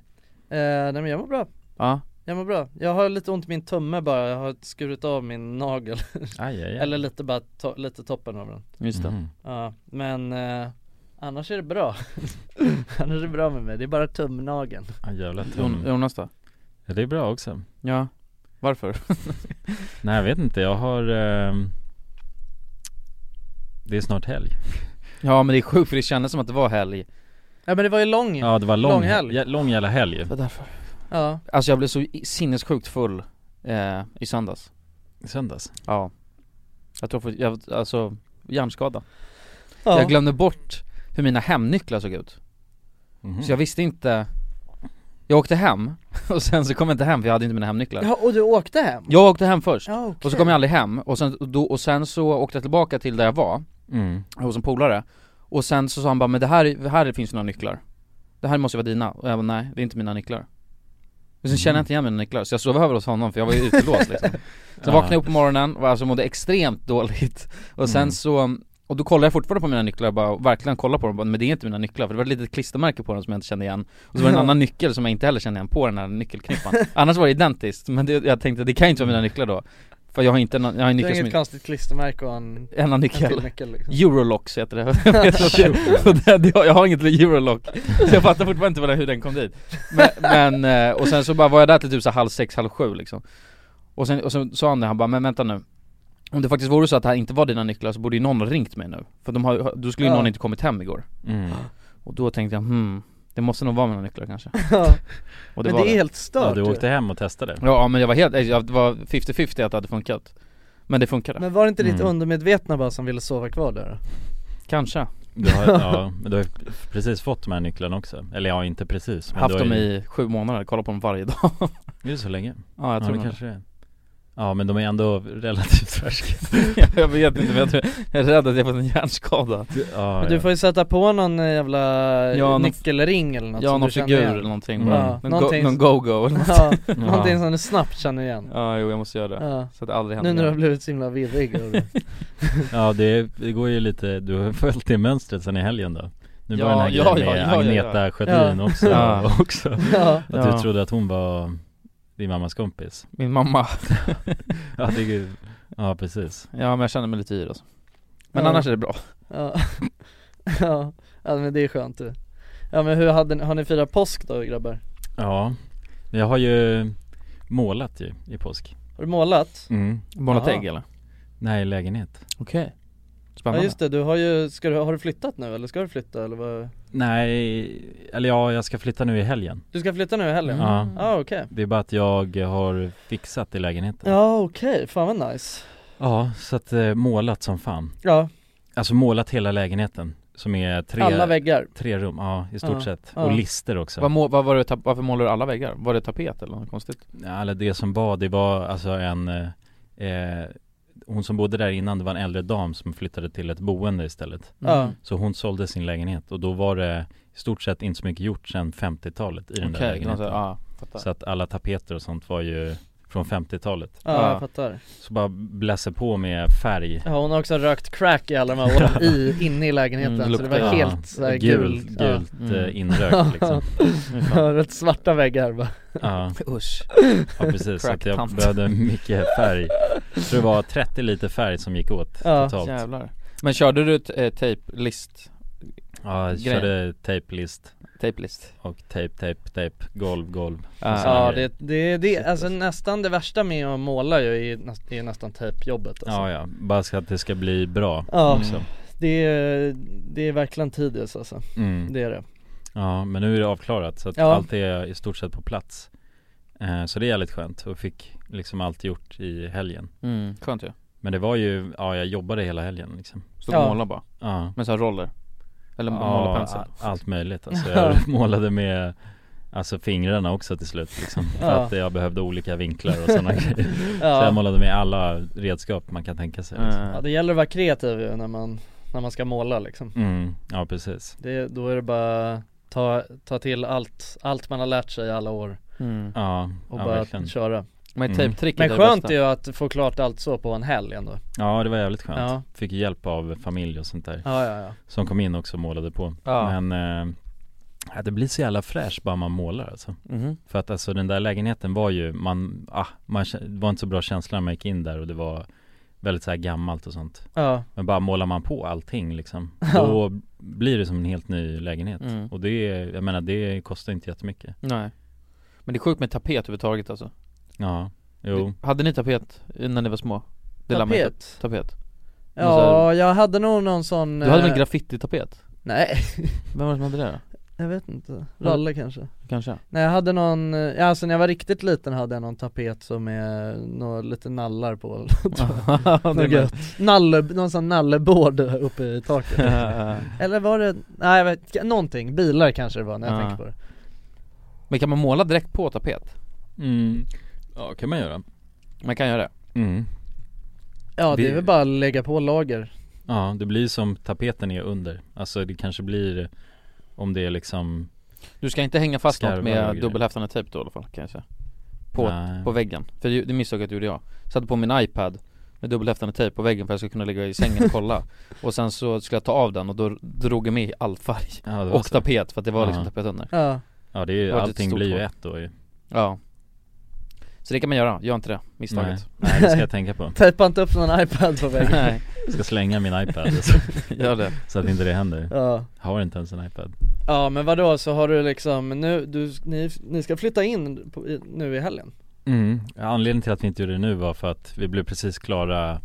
Speaker 4: nej men jag mår bra,
Speaker 7: Ja,
Speaker 4: jag mår bra. Jag har lite ont i min tumme bara, jag har skurit av min nagel
Speaker 3: aj, aj, aj.
Speaker 4: Eller lite bara, to- lite toppen av den
Speaker 7: just det
Speaker 3: Mhm.
Speaker 4: Ja, men eh, annars är det bra Annars är det bra med mig, det är bara tumnageln
Speaker 3: Ja, jävla
Speaker 7: Jon,
Speaker 3: tum.
Speaker 7: Jonas då?
Speaker 3: Mm. Ja, det är bra också
Speaker 7: Ja, varför?
Speaker 3: Nej jag vet inte, jag har ehm, Det är snart helg
Speaker 7: Ja men det är sjukt för det kändes som att det var helg
Speaker 4: Ja men det var ju lång Ja,
Speaker 3: Ja det var lång,
Speaker 4: Lång
Speaker 3: he-
Speaker 4: helg.
Speaker 3: ja, lång jävla helg
Speaker 7: var därför
Speaker 4: ja,
Speaker 7: Alltså jag blev så i- sinnessjukt full eh, i söndags
Speaker 3: I söndags
Speaker 7: Ja Jag tror jag, jag alltså hjärnskada Jag glömde bort hur mina hemnycklar såg ut
Speaker 3: Mhm.
Speaker 7: Så jag visste inte Jag åkte hem och sen så kom jag inte hem för jag hade inte mina hemnycklar
Speaker 4: ja och du åkte hem?
Speaker 7: Jag åkte hem först
Speaker 4: Ja okej
Speaker 7: och så kom jag aldrig hem och sen, och då, och sen så åkte jag tillbaka till där jag var
Speaker 3: mm.
Speaker 7: hos en polare Och sen så sa han bara, men det här, här finns några nycklar Det här måste ju vara dina, och jag bara, nej det är inte mina nycklar Men sen kände jag inte igen mina nycklar, så jag sov över hos honom för jag var ju utelåst liksom Sen
Speaker 3: Ja.
Speaker 7: vaknade jag upp på morgonen och alltså mådde extremt dåligt Och sen
Speaker 3: Mm.
Speaker 7: så Och då kollade jag fortfarande på mina nycklar och bara, verkligen kollade på dem, bara, men det är inte mina nycklar för det var ett litet klistermärke på dem som jag inte kände igen Och så var det en annan nyckel som jag inte heller kände igen på den här nyckelknippan Annars var det identiskt, men det, jag tänkte det kan ju inte vara mina nycklar då För jag har inte, någon- jag har en
Speaker 4: Det
Speaker 7: nyckel
Speaker 4: är inget
Speaker 7: som inte,
Speaker 4: konstigt klistermärke och en,
Speaker 7: en annan
Speaker 4: en till
Speaker 7: nyckel
Speaker 4: nyckel liksom.
Speaker 7: Eurolocks heter det, jag, vet inte. Så det, det, jag har inget Eurolock Så jag fattar fortfarande inte vad det- hur den kom dit men, men, eh, och sen så bara var jag där till typ så här halv sex, halv sju liksom Och sen, och sen sa han det, han bara 'Men vänta nu' Om det faktiskt vore så att det här inte var dina nycklar så borde ju någon ha ringt mig nu För de har, då skulle ju
Speaker 4: Ja.
Speaker 7: någon inte kommit hem igår
Speaker 3: Mm.
Speaker 7: Och då tänkte jag hmm, det måste nog vara mina nycklar kanske
Speaker 4: Ja,
Speaker 7: Och det
Speaker 4: Men
Speaker 7: var
Speaker 4: det är helt stört
Speaker 3: Ja, du
Speaker 4: ju.
Speaker 3: åkte hem och testade?
Speaker 7: Ja men jag var helt, eh, jag var 50-50 att det hade funkat Men det funkade,
Speaker 4: Men var det inte ditt
Speaker 3: Mm.
Speaker 4: undermedvetna bara som ville sova kvar där då?
Speaker 7: kanske
Speaker 3: Du har, ja, men du har ju precis fått de här nycklarna också Eller ja, inte precis men du
Speaker 7: Haft
Speaker 3: har
Speaker 7: dem
Speaker 3: ju-
Speaker 7: i sju månader, kollat på dem varje dag
Speaker 3: Det är så länge
Speaker 7: Ja jag
Speaker 3: Ja,
Speaker 7: tror
Speaker 3: det
Speaker 7: nog
Speaker 3: kanske det är Ja men de är ändå relativt färska
Speaker 7: Jag vet inte men jag, tror, jag är rädd att jag fått en hjärnskada
Speaker 3: ja,
Speaker 4: Men du
Speaker 3: ja.
Speaker 4: får ju sätta på någon eh, jävla
Speaker 7: Ja, någon-
Speaker 4: nyckelring eller något
Speaker 7: Ja
Speaker 4: som
Speaker 7: någon
Speaker 4: du känner
Speaker 7: figur
Speaker 4: igen.
Speaker 7: eller någonting
Speaker 3: Mm.
Speaker 7: bara.
Speaker 4: Ja,
Speaker 7: någon, go,
Speaker 4: någonting
Speaker 7: någon
Speaker 4: som-
Speaker 7: go-go eller något.
Speaker 4: Ja,
Speaker 3: Ja.
Speaker 4: någonting som du snabbt känner igen
Speaker 7: Ja jo jag måste göra det
Speaker 4: Ja.
Speaker 7: Så att det aldrig händer
Speaker 4: Nu när du har
Speaker 7: igen.
Speaker 4: blivit så himla virrig och-
Speaker 3: Ja det, det går ju lite, du har följt det mönstret sen i helgen då Nu
Speaker 7: Ja,
Speaker 3: var den här
Speaker 7: ja,
Speaker 3: grejen
Speaker 7: ja,
Speaker 3: med
Speaker 7: ja, ja,
Speaker 3: Agneta
Speaker 7: ja.
Speaker 3: Sjödin
Speaker 4: Ja.
Speaker 3: också,
Speaker 7: Ja.
Speaker 3: också Att
Speaker 4: Ja,
Speaker 7: Ja.
Speaker 3: du trodde att hon var din mammas kompis
Speaker 7: Min mamma,
Speaker 3: Ja det är ju- Ja precis
Speaker 7: ja men jag känner mig lite yr alltså. Men
Speaker 4: Ja.
Speaker 7: annars är det bra
Speaker 4: ja Ja, ja men det är skönt du Ja men hur hade ni, har ni firat påsk då grabbar?
Speaker 3: Ja Men Jag har ju målat ju i påsk
Speaker 4: Har du målat?
Speaker 3: mm.
Speaker 7: Målat
Speaker 4: Ja.
Speaker 7: ägg eller?
Speaker 3: Nej lägenhet
Speaker 7: Okej
Speaker 4: Ja
Speaker 7: Spännande
Speaker 4: just det, du har ju, ska du, har du flyttat nu eller ska du flytta eller vad?
Speaker 3: Nej, eller ja jag ska flytta nu i helgen
Speaker 4: Du ska flytta nu i helgen?
Speaker 3: Ja.
Speaker 4: Ja okej
Speaker 3: Det är bara att jag har fixat i lägenheten
Speaker 4: Ja okej, fan vad nice
Speaker 3: Ja, så att eh, målat som fan
Speaker 4: Ja,
Speaker 3: Alltså målat hela lägenheten Som är tre,
Speaker 4: alla väggar
Speaker 3: tre rum, ja i stort
Speaker 4: Ja,
Speaker 3: sett
Speaker 4: ja.
Speaker 3: Och lister också
Speaker 7: vad, må, vad var det, tap- varför målar du alla väggar? Var det tapet eller något konstigt?
Speaker 3: Ja, Eller det som var, det var alltså en eh, eh, Hon som bodde där innan, det var en äldre dam som flyttade till ett boende istället
Speaker 7: Mm.
Speaker 4: Ja.
Speaker 3: Så hon sålde sin lägenhet och då var det i stort sett inte så mycket gjort sedan 50-talet i den där
Speaker 7: Okej, okay,
Speaker 3: lägenheten
Speaker 7: ja, fattar
Speaker 3: Så att alla tapeter och sånt var ju från 50-talet
Speaker 4: Ja,
Speaker 7: Ja.
Speaker 4: jag fattar.
Speaker 3: Så bara bläser på med färg
Speaker 4: Ja, hon har också rökt crack i alla de här åren i, inne i lägenheten
Speaker 7: Mm, det
Speaker 4: så det var
Speaker 7: luktar- ja.
Speaker 4: helt såhär
Speaker 3: gul,
Speaker 4: gult
Speaker 3: gult
Speaker 7: Mm.
Speaker 3: eh, inrökt liksom
Speaker 4: Ja, rätt svarta väggar bara
Speaker 3: ja.
Speaker 7: Usch
Speaker 3: Ja precis, så att jag
Speaker 7: Cracktant.
Speaker 3: behövde mycket färg Jag tror det var 30 liter färg som gick åt
Speaker 4: Ja.
Speaker 3: totalt
Speaker 7: Jävlar Men körde du t- eh, tape list?
Speaker 3: Ja, jag
Speaker 7: Grejen.
Speaker 3: körde tejplist
Speaker 7: Tape list?
Speaker 3: och tejp, tejp, tejp, golv, golv
Speaker 7: Ja.
Speaker 3: sådana
Speaker 4: Ja
Speaker 3: grejer.
Speaker 4: det, det, det alltså nästan det värsta med att måla ju är, näst, är nästan tejpjobbet alltså.
Speaker 3: Ja ja, bara så att det ska bli bra
Speaker 7: Mm.
Speaker 4: Ja,
Speaker 3: också
Speaker 4: det, är, det är verkligen tidigt alltså,
Speaker 3: mm.
Speaker 4: det är det
Speaker 3: Ja men nu är det avklarat så att
Speaker 4: Ja.
Speaker 3: allt är i stort sett på plats Eh, Så det är jävligt skönt och fick liksom allt gjort i helgen
Speaker 7: Mm, skönt ju
Speaker 3: Men det var ju, ja jag jobbade hela helgen liksom
Speaker 7: Stod
Speaker 4: Ja.
Speaker 7: och måla bara,
Speaker 3: Ja
Speaker 7: med så här roller? Eller måla pensel?
Speaker 3: a- allt möjligt alltså. Jag målade med Alltså fingrarna också till slut liksom. För
Speaker 4: Ja.
Speaker 3: att jag behövde olika vinklar och sådana grejer Så jag
Speaker 4: ja.
Speaker 3: målade med alla redskap man kan tänka
Speaker 7: Eh,
Speaker 3: sig liksom.
Speaker 4: ja, det gäller att vara kreativ ju när man, när man ska måla liksom
Speaker 3: mm, Ja precis
Speaker 4: det, Då är det bara ta, ta till allt, allt man har lärt sig i alla år
Speaker 7: Mm.
Speaker 3: Ja,
Speaker 4: och
Speaker 3: ja
Speaker 4: bara
Speaker 3: verkligen
Speaker 4: köra
Speaker 7: Men
Speaker 3: Mm.
Speaker 7: tejptricket
Speaker 4: Men
Speaker 7: är
Speaker 4: skönt
Speaker 7: bästa.
Speaker 4: är ju att få klart allt så på en helg ändå
Speaker 3: Ja det var jävligt skönt
Speaker 4: Ja.
Speaker 3: Fick hjälp av familj och sånt där
Speaker 4: Ja ja ja,
Speaker 3: Som kom in också och målade på
Speaker 7: Ja.
Speaker 3: Men eh, ja, det blir så jävla fräscht bara man målar alltså
Speaker 7: Mhm.
Speaker 3: För att alltså den där lägenheten var ju, man, ah, man, kä- det var inte så bra känsla när man gick in där och det var väldigt så här gammalt och sånt
Speaker 4: ja,
Speaker 3: Men bara målar man på allting liksom
Speaker 4: Ja.
Speaker 3: Då blir det som en helt ny lägenhet
Speaker 7: Mm.
Speaker 3: Och det, är- jag menar det kostar inte jättemycket
Speaker 7: Nej Men det är sjukt med tapet överhuvudtaget alltså
Speaker 3: Ja, jo
Speaker 7: Hade ni tapet när ni var små? Det lär man inte.
Speaker 4: tapet
Speaker 7: Tapet? Men så här-
Speaker 4: Ja, jag hade nog någon sån
Speaker 7: Du hade väl
Speaker 4: eh,
Speaker 7: en graffiti-tapet?
Speaker 4: Nej,
Speaker 7: Vem var det som hade det då?
Speaker 4: jag vet inte, Ralle kanske
Speaker 7: Kanske?
Speaker 4: Nej jag hade någon, eh, ja alltså när jag var riktigt liten hade jag någon tapet som är några lite nallar på eller något. Något
Speaker 7: Något
Speaker 4: gött. Nalle, någon sån nallebord uppe i taket Eller var det, nej jag vet någonting, bilar kanske det var när jag
Speaker 7: Ja.
Speaker 4: tänker på det
Speaker 7: Men kan man måla direkt på tapet?
Speaker 3: mm. Ja kan man göra
Speaker 7: Man kan göra det
Speaker 3: mm.
Speaker 4: Ja det
Speaker 3: Vi-
Speaker 4: är väl bara att lägga på lager
Speaker 3: Ja det blir som tapeten är under Alltså det kanske blir Om det är liksom
Speaker 7: Du ska inte hänga fast
Speaker 3: Skarvar
Speaker 7: något
Speaker 3: och
Speaker 7: med
Speaker 3: grejer.
Speaker 7: dubbelhäftande tejp då i alla fall kan jag säga På,
Speaker 3: Nej.
Speaker 7: på väggen, för det, det misstaget gjorde jag Satte på min iPad med dubbelhäftande tejp på väggen för att jag skulle kunna ligga i sängen och kolla Och sen så skulle jag ta av den och då drog jag med all färg
Speaker 3: Ja, det var
Speaker 7: och
Speaker 3: så.
Speaker 7: tapet för att det var liksom
Speaker 3: Ja.
Speaker 7: tapet under
Speaker 4: Ja,
Speaker 3: Ja det är ju,
Speaker 7: Det var ett
Speaker 3: allting
Speaker 7: stort
Speaker 3: blir ju
Speaker 7: hål.
Speaker 3: ett då ju
Speaker 7: Ja Så det kan man göra, gör inte det,
Speaker 3: Nej.
Speaker 7: misstaget
Speaker 3: Nej det ska jag tänka på
Speaker 4: tejpa inte upp någon iPad på väggen
Speaker 7: Nej,
Speaker 3: Jag ska slänga min iPad så,
Speaker 7: gör det
Speaker 3: så att inte det händer
Speaker 4: Ja
Speaker 3: Jag Har inte ens en iPad
Speaker 4: Ja men vadå, så har du liksom nu, du, ni, ni ska flytta in på, i, nu i helgen?
Speaker 3: Mm. Anledningen till att vi inte gjorde det nu var för att vi blev precis klara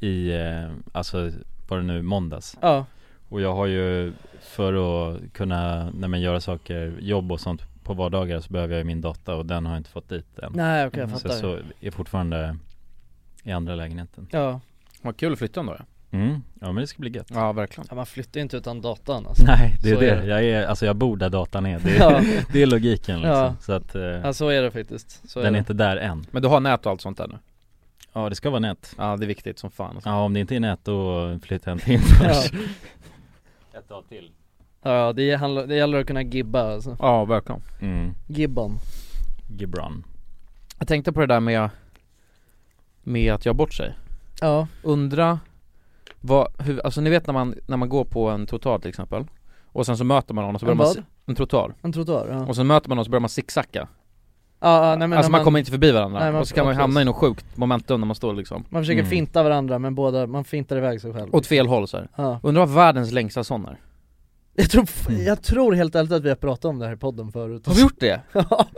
Speaker 3: i, eh, alltså var det nu måndags?
Speaker 4: Ja,
Speaker 3: Och jag har ju, för att kunna, nej men göra saker, jobb och sånt på vardagar så behöver jag ju min data och den har jag inte fått dit än
Speaker 4: nej okej jag
Speaker 3: Mm, Så
Speaker 4: fattar
Speaker 3: jag så är fortfarande i andra lägenheten
Speaker 4: Ja,
Speaker 7: Vad kul att flytta ändå ja.
Speaker 3: mm. Ja men det ska bli gött
Speaker 7: ja verkligen
Speaker 4: ja man flyttar ju inte utan datan alltså
Speaker 3: Nej det är
Speaker 4: Så
Speaker 3: det,
Speaker 4: är det.
Speaker 3: jag är, alltså jag bor där datan är, det är,
Speaker 4: Ja,
Speaker 3: det är logiken liksom
Speaker 4: Ja.
Speaker 3: Så att eh,
Speaker 4: ja så är det faktiskt, så
Speaker 3: den är
Speaker 4: är det.
Speaker 3: inte där än
Speaker 7: Men du har nät och allt sånt där nu?
Speaker 3: Ja det ska vara nät
Speaker 7: Ja det är viktigt som fan alltså.
Speaker 3: Ja om det inte är nät då flyttar jag inte in först Ett tag till
Speaker 4: Ja det, handlar, det gäller att kunna gibba alltså,
Speaker 7: Ja verkligen
Speaker 3: mm.
Speaker 4: gibbon
Speaker 3: Gibran
Speaker 7: Jag tänkte på det där med Med att göra bort sig
Speaker 4: Ja,
Speaker 7: Undra vad, hur, alltså ni vet när man, när man går på en trottoir till exempel Och sen så möter man någon och så
Speaker 4: en
Speaker 7: börjar man,
Speaker 4: vad?
Speaker 7: si- en trottoir
Speaker 4: En trottoar? Ja,
Speaker 7: Och sen möter man någon och så börjar man zigzacka
Speaker 4: ja, ja nej, men
Speaker 7: Alltså
Speaker 4: när
Speaker 7: man, kommer inte förbi varandra
Speaker 4: Nej, man-
Speaker 7: och så kan man
Speaker 4: ja,
Speaker 7: ju hamna i något sjukt momentum när man står liksom
Speaker 4: man försöker
Speaker 3: Mm.
Speaker 4: finta varandra men båda, man fintar iväg sig själv
Speaker 7: Åt fel håll så här.
Speaker 4: Ja.
Speaker 7: Undrar vad världens längsta sån är?
Speaker 4: Jag tror, jag tror helt ärligt att vi har pratat om det här i podden förut
Speaker 7: Mm. Har vi gjort det?
Speaker 4: Ja.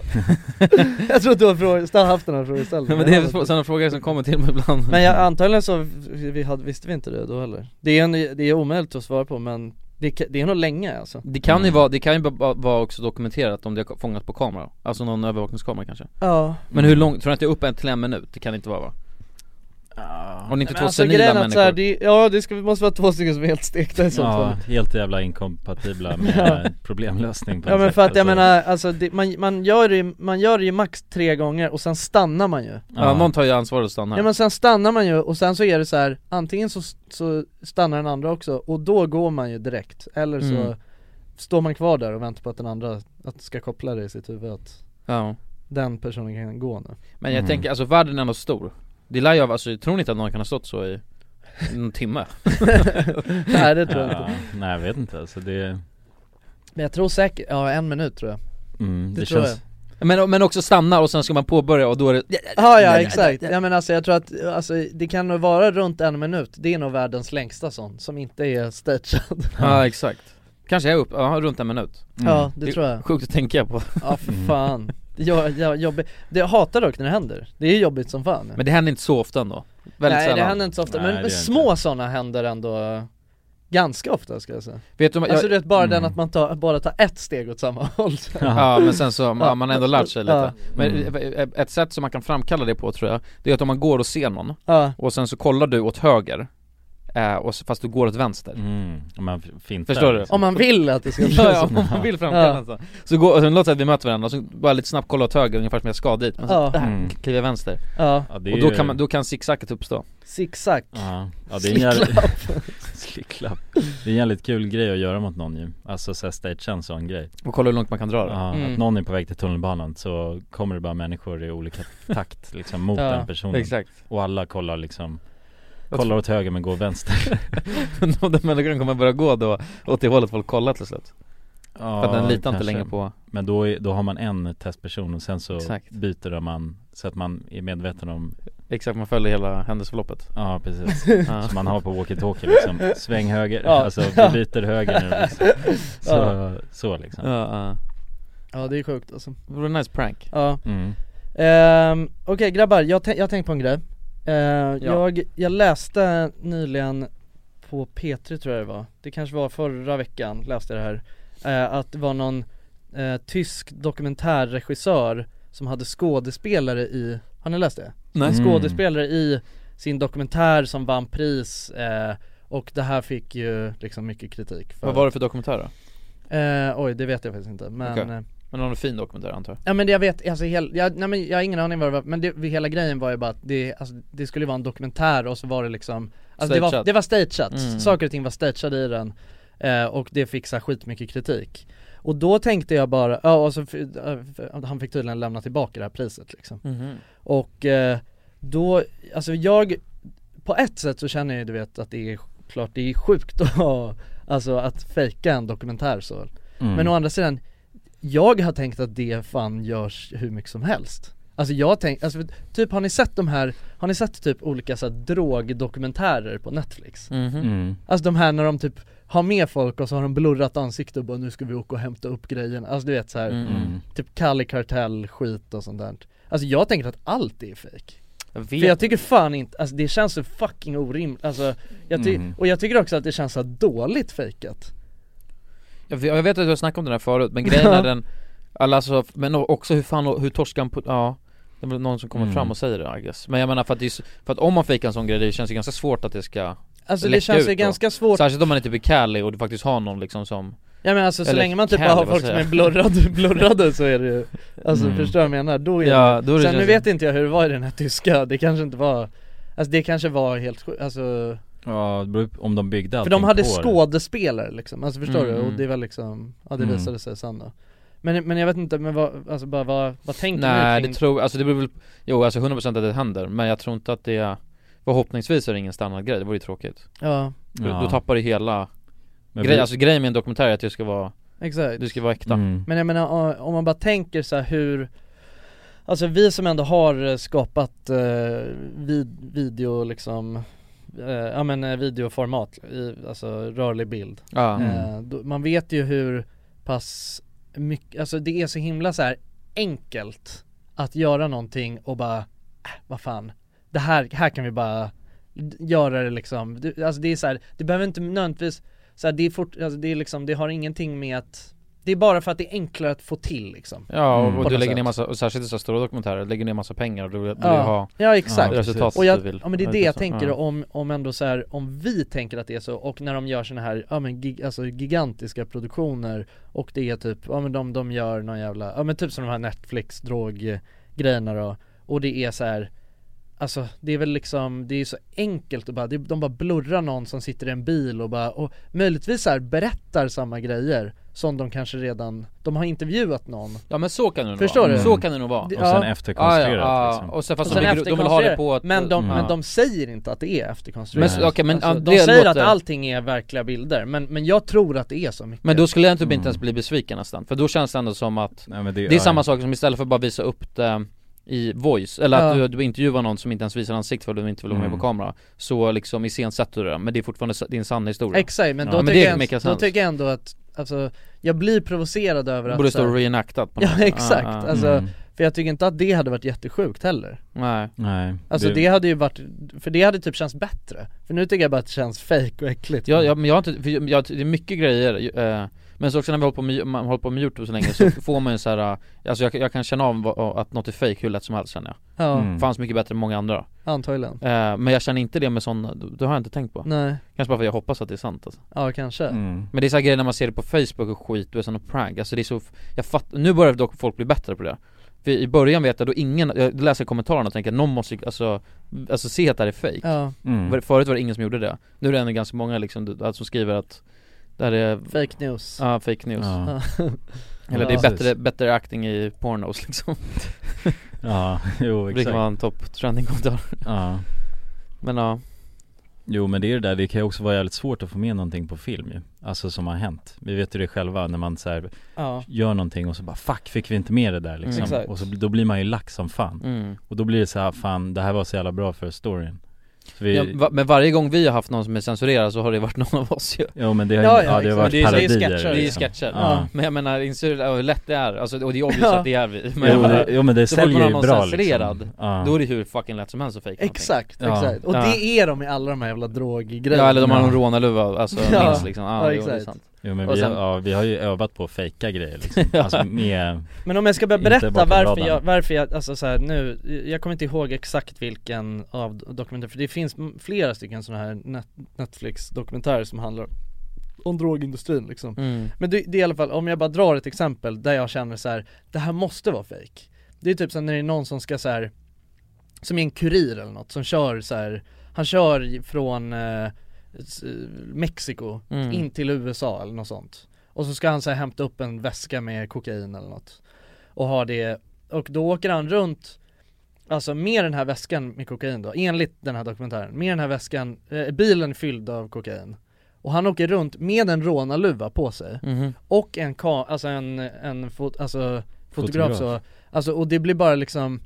Speaker 4: Jag tror att du har fråga, haft den här
Speaker 7: Nej,
Speaker 4: frågeställningen
Speaker 7: men det är sådana frågor som kommer till mig ibland
Speaker 4: Men jag, antagligen så vi vi hade, visste vi inte det då heller Det är, en, det är omöjligt att svara på men det, ka- det är nog länge alltså
Speaker 7: Det kan ju
Speaker 3: Mm.
Speaker 7: vara, det kan ju ba- ba- vara också dokumenterat om det har fångat på kamera Alltså någon övervakningskamera kanske
Speaker 4: Ja
Speaker 7: Men hur långt, tror ni att det är upp en till en minut? Det kan det inte vara va? Har ni inte två senila
Speaker 4: Alltså, grejen är att så
Speaker 7: människor?
Speaker 4: här, det, ja det ska, måste vara två stycken som är helt stekta i så
Speaker 3: Ja,
Speaker 4: fall
Speaker 3: helt jävla inkompatibla med problemlösning på
Speaker 4: Ja
Speaker 3: något
Speaker 4: men
Speaker 3: sätt.
Speaker 4: för att jag
Speaker 3: Alltså,
Speaker 4: menar, alltså det, man, man, gör det, ju- man gör det ju max tre gånger och sen stannar man ju
Speaker 7: Ja, någon tar ju ansvaret att stanna
Speaker 4: Ja men sen stannar man ju och sen så är det så här antingen så, så stannar den andra också och då går man ju direkt eller så
Speaker 7: Mm.
Speaker 4: står man kvar där och väntar på att den andra att ska koppla det i sitt huvud att
Speaker 7: ja.
Speaker 4: den personen kan gå nu
Speaker 7: Men jag
Speaker 3: Mm.
Speaker 7: tänker, alltså världen är ändå stor Det lär ju, av- alltså tror ni inte att någon kan ha stått så i en timme?
Speaker 4: Nej det tror jag
Speaker 3: ja,
Speaker 4: inte
Speaker 3: Nej jag vet inte alltså det,
Speaker 4: Men jag tror säkert, ja en minut tror jag
Speaker 3: mm, det,
Speaker 4: Det tror
Speaker 3: känns
Speaker 7: Men, men också stanna och sen ska man påbörja och då är det
Speaker 4: Ja ja exakt, ja men alltså jag tror att, alltså, det kan nog vara runt en minut, det är nog världens längsta sån som inte är stagead
Speaker 7: Ja exakt Kanske är upp, ja runt en minut Mm.
Speaker 4: Ja det tror jag,
Speaker 7: Sjukt att tänka på
Speaker 4: ja för
Speaker 7: Mm.
Speaker 4: fan jag, jag, jobbig. Det, jag hatar dock när det händer, det är jobbigt som fan
Speaker 7: Men det händer inte så ofta ändå Väldigt
Speaker 4: Nej
Speaker 7: sällan
Speaker 4: det händer inte så ofta,
Speaker 3: Nej,
Speaker 4: men,
Speaker 3: det
Speaker 4: men
Speaker 3: gör det
Speaker 4: små sådana händer ändå eh, Ganska ofta ska jag säga
Speaker 7: Vet du, jag,
Speaker 4: Alltså du vet bara den
Speaker 3: mm.
Speaker 4: att man tar, bara tar ett steg åt samma håll
Speaker 7: Ja men sen så, ja, man har ändå lärt sig
Speaker 4: Ja.
Speaker 7: lite
Speaker 3: Mm.
Speaker 7: Men eh, ett sätt som man kan framkalla det på tror jag Det är att om man går och ser någon
Speaker 4: Ja,
Speaker 7: och sen så kollar du åt höger eh, och så, Fast du går åt vänster
Speaker 3: mm, om man fintar
Speaker 7: Förstår du?
Speaker 3: liksom.
Speaker 4: om man vill att det ska
Speaker 7: Ja,
Speaker 4: vara
Speaker 7: ja,
Speaker 4: så
Speaker 7: om man vill framkalla en sån. Så går, och sen låter det att vi möter varandra, så bara lite snabbt kolla åt höger ungefär som jag ska dit, men så
Speaker 4: Ja.
Speaker 7: äh,
Speaker 3: Mm.
Speaker 7: kliver jag vänster
Speaker 4: Ja,
Speaker 3: Ja, det är
Speaker 7: Och då
Speaker 3: ju-
Speaker 7: kan, man, då kan zigzaget uppstå
Speaker 4: zigzag
Speaker 3: Ja, ja det är en jävligt Slicklapp Det är en jävligt kul grej att göra mot någon ju Alltså såhär stage en sån grej
Speaker 7: och kolla hur långt man kan dra det
Speaker 3: ja,
Speaker 4: Mm.
Speaker 3: Att någon är på väg till tunnelbanan så kommer det bara människor i olika takt liksom mot
Speaker 4: Ja,
Speaker 3: den personen
Speaker 7: Exakt
Speaker 3: Och alla kollar liksom
Speaker 7: Jag
Speaker 3: Kollar åt höger men går vänster
Speaker 7: De där människorna kommer börja gå då åt det hållet folk kollar till slut
Speaker 3: ja,
Speaker 7: För att den litar
Speaker 3: kanske.
Speaker 7: inte längre på
Speaker 3: Men då, är, då har man en testperson och sen så
Speaker 7: Exakt.
Speaker 3: byter man Så att man är medveten om
Speaker 7: Exakt, man följer hela händelseförloppet
Speaker 3: Ja precis
Speaker 7: ja.
Speaker 3: som man har på walkie-talkie liksom Sväng höger,
Speaker 4: Ja.
Speaker 3: alltså vi byter höger nu liksom. Så, så liksom
Speaker 7: Ja, ja.
Speaker 4: Ja det är sjukt alltså
Speaker 7: Det vore en nice prank
Speaker 4: Ja,
Speaker 3: mm.
Speaker 4: ehm, okej grabbar, jag, tän- jag tänkte på en grej Eh, jag, jag läste nyligen på P3 tror jag det var, det kanske var förra veckan läste jag det här eh, Att det var någon eh, tysk dokumentärregissör som hade skådespelare i, har ni läst det?
Speaker 7: Nej.
Speaker 4: En skådespelare i sin dokumentär som vann pris eh, och det här fick ju liksom mycket kritik för
Speaker 7: Vad var det för dokumentär då?
Speaker 4: Eh, oj det vet jag faktiskt inte men
Speaker 7: Okej.
Speaker 4: eh,
Speaker 7: Men någon fin dokumentär antar jag?
Speaker 4: Ja men det jag vet, alltså hel, jag, nej, men jag har ingen aning vad det var, men det, hela grejen var ju bara att det, alltså, det skulle vara en dokumentär och så var det liksom alltså, det, var,
Speaker 7: Stageat.
Speaker 4: det var stageat,
Speaker 7: Mm.
Speaker 4: saker och ting var stageade i den eh, och det fick så här skitmycket kritik Och då tänkte jag bara, ja och så, f- eh, f- han fick tydligen
Speaker 7: Mhm.
Speaker 4: lämna tillbaka det här priset liksom
Speaker 7: mm
Speaker 4: Och eh, då, alltså jag på ett sätt så känner jag ju, du vet att det är klart det är sjukt att, alltså att fejka en dokumentär så
Speaker 7: Mm.
Speaker 4: Men å andra sidan, jag har tänkt att det fan görs hur mycket som helst Alltså jag har tänkt, alltså typ har ni sett de här, har ni sett typ olika så här, drogdokumentärer på Netflix?
Speaker 7: Mhm.
Speaker 5: Mm.
Speaker 4: Alltså de här när de typ har med folk och så har de blurrat ansikte och bara nu ska vi åka och hämta upp grejerna, alltså du vet så här,
Speaker 7: Mm.
Speaker 4: typ Kali Kartell skit och sånt där Alltså jag tänker att allt är fake
Speaker 5: Jag vet
Speaker 4: För jag tycker fan inte, alltså det känns så fucking orimligt, alltså jag ty- och jag tycker också att det känns så här dåligt fejkat
Speaker 7: Jag vet- jag vet att du har snackat om den här förut, men grejen
Speaker 4: Ja.
Speaker 7: är den alla Alltså, men också hur fan, hur torskan på, ja Det är väl någon som kommer
Speaker 5: Mm.
Speaker 7: fram och säger det I guess. Men jag menar för att, det är, s- för att om man fejkar en sån grej, det känns ju ganska svårt att det ska
Speaker 4: Alltså det
Speaker 7: Läcka
Speaker 4: känns
Speaker 7: ut
Speaker 4: ju
Speaker 7: då.
Speaker 4: ganska svårt,
Speaker 7: Särskilt om man är typ i Cali och du faktiskt har någon liksom som
Speaker 4: ja men alltså så
Speaker 7: eller
Speaker 4: länge man typ
Speaker 7: kan
Speaker 4: bara har
Speaker 7: det, vad
Speaker 4: folk som
Speaker 7: säger
Speaker 4: är blurrade, blurrade så är det ju Alltså
Speaker 5: Mm.
Speaker 4: förstår du vad jag menar? Då är
Speaker 7: Ja, då är det
Speaker 4: Sen nu
Speaker 7: känns-
Speaker 4: vet inte jag hur det var i den här tyska, det kanske inte var Alltså det kanske var helt sjukt, alltså
Speaker 3: Ja, det beror på om de byggde
Speaker 4: För
Speaker 3: allting
Speaker 4: de hade
Speaker 3: på det.
Speaker 4: skådespelare liksom, alltså förstår
Speaker 7: Mm,
Speaker 4: du? Och
Speaker 7: mm.
Speaker 4: det var liksom, ja det
Speaker 3: Mm.
Speaker 4: visade sig sen då men, men jag vet inte, men vad, alltså bara vad, vad tänker
Speaker 7: Nej
Speaker 4: ni
Speaker 7: det
Speaker 4: kring?
Speaker 7: tror, alltså det beror väl Jo alltså 100% att det händer, men jag tror inte att det är Förhoppningsvis är det ingen standardgrej, det vore ju tråkigt
Speaker 4: Ja,
Speaker 7: Du-
Speaker 3: Ja.
Speaker 7: Då tappar du hela
Speaker 3: Men
Speaker 7: grejen,
Speaker 3: vi-
Speaker 7: alltså grejen med en dokumentär är att du ska vara,
Speaker 4: exakt
Speaker 7: du ska vara äkta
Speaker 3: Mm.
Speaker 4: Men jag menar eh, om man bara tänker så här hur Alltså vi som ändå har eh, skapat eh, vid, video liksom eh, Ja men eh, videoformat, i, alltså rörlig bild
Speaker 7: Ja,
Speaker 3: Mm.
Speaker 4: eh, då, Man vet ju hur pass mycket, alltså det är så himla så här enkelt att göra någonting och bara, äh, vad fan, det här, här kan vi bara d- göra det liksom, Du- alltså det är så här, det behöver inte nödvändigtvis, så här, det är fort, alltså det är liksom, det har ingenting med att, det är bara för att det är enklare att få till liksom
Speaker 7: ja och,
Speaker 3: Mm.
Speaker 7: och
Speaker 4: På
Speaker 7: du
Speaker 4: något
Speaker 7: lägger ner
Speaker 4: sätt.
Speaker 7: massa, och särskilt i så här stora dokumentärer, lägger ner massa pengar och du vill, vill
Speaker 4: Ja.
Speaker 7: ju ha
Speaker 4: Ja exakt,
Speaker 3: Ja,
Speaker 7: resultatet
Speaker 4: och
Speaker 7: du
Speaker 4: jag,
Speaker 7: vill
Speaker 4: ja men det är
Speaker 7: Ja,
Speaker 4: det jag
Speaker 7: så-
Speaker 4: tänker
Speaker 7: ja.
Speaker 4: om, om ändå så här, om vi tänker att det är så och när de gör såna här, ja men gig, alltså gigantiska produktioner och det är typ, ja men de, de gör någon jävla, ja men typ som de här Netflix droggrejerna då och det är så här Alltså det är väl liksom, det är ju så enkelt att bara, det- de bara blurrar någon som sitter i en bil och bara, och möjligtvis så här berättar samma grejer som de kanske redan, de har intervjuat någon
Speaker 7: Ja men så kan det nog
Speaker 4: Förstår
Speaker 7: vara,
Speaker 4: du?
Speaker 7: så kan det nog vara
Speaker 4: Det-
Speaker 3: Och sen
Speaker 4: ja.
Speaker 3: efterkonstruerat
Speaker 7: ja,
Speaker 3: liksom.
Speaker 7: och sen fast
Speaker 4: Och sen
Speaker 7: de, bygger- de vill ha det på
Speaker 4: efterkonstruerar-
Speaker 7: ett,
Speaker 4: Alltså, men, de,
Speaker 3: Mm.
Speaker 4: men de säger inte att det är efterkonstruerat
Speaker 7: men, så- okej, men
Speaker 4: alltså,
Speaker 7: ja,
Speaker 4: de
Speaker 7: det
Speaker 4: säger att
Speaker 7: låter-
Speaker 4: allting är verkliga bilder, men, men jag tror att det är så mycket
Speaker 7: Men då skulle jag typ
Speaker 3: Mm.
Speaker 7: inte ens bli besviken nästan, för då känns det ändå som att
Speaker 3: Nej, men
Speaker 7: Det är
Speaker 3: ja,
Speaker 7: samma sak som istället för att bara visa upp det i voice, eller att
Speaker 4: Ja.
Speaker 7: du, du intervjuar någon som inte ens visar ansiktet för att du inte vill vara med
Speaker 3: Mm.
Speaker 7: på kamera Så liksom iscensätter du det, men det är fortfarande s- din sanna historia
Speaker 4: Exakt, men
Speaker 3: Ja,
Speaker 4: då,
Speaker 7: men det
Speaker 4: tycker
Speaker 7: make
Speaker 4: jag,
Speaker 7: sense.
Speaker 4: då tycker jag ändå att, alltså, jag blir provocerad över
Speaker 7: Det
Speaker 4: att
Speaker 7: borde
Speaker 4: så
Speaker 7: stå
Speaker 4: här-
Speaker 7: reenactat på något
Speaker 4: Ja
Speaker 7: sätt.
Speaker 4: exakt,
Speaker 7: Ah, ah.
Speaker 4: alltså,
Speaker 3: Mm.
Speaker 4: för jag tycker inte att det hade varit jättesjukt heller
Speaker 7: Nej
Speaker 3: Nej.
Speaker 4: Alltså det... hade ju varit, för det hade typ känts bättre För nu tycker jag bara att det känns fake och äckligt
Speaker 7: jag, jag, men jag har inte, för jag, jag, det är mycket grejer eh, Men så också när vi håller på med, man håller på med youtube så länge så får man ju så här, eh, alltså jag, jag kan känna av vad- att något är fake hur lätt som helst känner jag
Speaker 4: Ja,
Speaker 3: Mm.
Speaker 7: Fanns mycket bättre än många andra
Speaker 4: antagligen
Speaker 7: eh, Men jag känner inte det med sådana, det har jag inte tänkt på
Speaker 4: Nej,
Speaker 7: Kanske bara för att jag hoppas att det är sant alltså.
Speaker 4: ja kanske
Speaker 3: Mm.
Speaker 7: Men det är så här grejer när man ser det på Facebook och skit, du är sån prank, alltså det är så, jag fattar, nu börjar dock folk bli bättre på det För i början vet jag då ingen, jag läser kommentarerna och tänker någon måste ju, alltså, alltså se att det här är fejk
Speaker 4: Ja,
Speaker 3: Mm.
Speaker 7: Var- Förut var det ingen som gjorde det, nu är det ändå ganska många liksom, du- som skriver att det här är
Speaker 4: fake news
Speaker 7: Ja, fake news.
Speaker 3: Ja.
Speaker 4: Ja.
Speaker 7: Eller det är
Speaker 3: Ja.
Speaker 7: bättre, bättre acting i pornos liksom.
Speaker 3: ja, jo
Speaker 7: Brukar
Speaker 3: exakt.
Speaker 7: vara en topp trending kommentar.
Speaker 3: Ja.
Speaker 7: Men ja,
Speaker 3: Jo men det är det där, det kan ju också vara jävligt svårt att få med någonting på film ju Alltså som har hänt Vi vet ju det själva när man så här
Speaker 4: ja.
Speaker 3: gör någonting och så bara fuck fick vi inte med det där
Speaker 7: Mm.
Speaker 3: liksom
Speaker 4: Exakt.
Speaker 3: Och så, då blir man ju lack som fan
Speaker 7: mm.
Speaker 3: Och då blir det så här fan det här var så jävla bra för storyn Så vi,
Speaker 7: ja,
Speaker 3: ja,
Speaker 7: va, Men varje gång vi har haft någon som är censurerad så har det varit någon av oss ju.
Speaker 3: jo men det har ju,
Speaker 4: Ja,
Speaker 3: ja,
Speaker 4: ja,
Speaker 3: det har
Speaker 4: exakt.
Speaker 3: varit
Speaker 7: Det är ju- det är
Speaker 3: parodier
Speaker 7: ju
Speaker 4: sketcher.
Speaker 7: Det är ju
Speaker 3: liksom.
Speaker 7: sketcher.
Speaker 3: Ja,
Speaker 7: Men jag menar, inser du hur lätt det är? Alltså, och det är obvious
Speaker 4: Ja.
Speaker 7: att det är vi. Men jag
Speaker 3: Jo,
Speaker 7: menar,
Speaker 3: det, jo men det
Speaker 7: så fort man
Speaker 3: säljer
Speaker 7: har
Speaker 3: ju
Speaker 7: någon
Speaker 3: bra
Speaker 7: censurerad,
Speaker 3: liksom. ja.
Speaker 7: Då är det hur fucking lätt som helst att fejka någonting.
Speaker 4: Exakt,
Speaker 3: Ja.
Speaker 4: exakt. Och
Speaker 7: Ja.
Speaker 4: det är de i alla de här jävla droggrejerna
Speaker 7: Ja eller de har
Speaker 3: Ja.
Speaker 7: någon rånarluva, alltså
Speaker 4: Ja.
Speaker 7: minst liksom. Ja,
Speaker 4: Ja,
Speaker 7: jo, det är
Speaker 4: exakt.
Speaker 7: sant.
Speaker 3: Jo men
Speaker 7: Och
Speaker 3: vi,
Speaker 7: sen-
Speaker 3: ja, vi har ju övat på att fejka grejer liksom Alltså med,
Speaker 4: Men om jag ska börja
Speaker 3: Inte
Speaker 4: berätta
Speaker 3: bakom
Speaker 4: varför
Speaker 3: radarn.
Speaker 4: jag, varför jag, alltså så här, nu, jag kommer inte ihåg exakt vilken av dokumentärer, för det finns m- flera stycken sådana här net, Netflix-dokumentärer som handlar om drogindustrin liksom
Speaker 7: Mm.
Speaker 4: Men det, det är i alla fall, om jag bara drar ett exempel där jag känner så här: det här måste vara fake Det är typ som när det är någon som ska så här som är en kurir eller något, som kör så här. han kör från eh, s- eh, Mexiko
Speaker 7: Mm.
Speaker 4: in till USA eller något sånt Och så ska han så här, hämta upp en väska med kokain eller något Och ha det, och då åker han runt Alltså med den här väskan med kokain då, enligt den här dokumentären, med den här väskan, eh, bilen fylld av kokain och han åker runt med en rånarluva på sig och en ka- alltså en, en fot- alltså, fotograf,
Speaker 3: Fotograf.
Speaker 4: så, alltså och det blir bara liksom,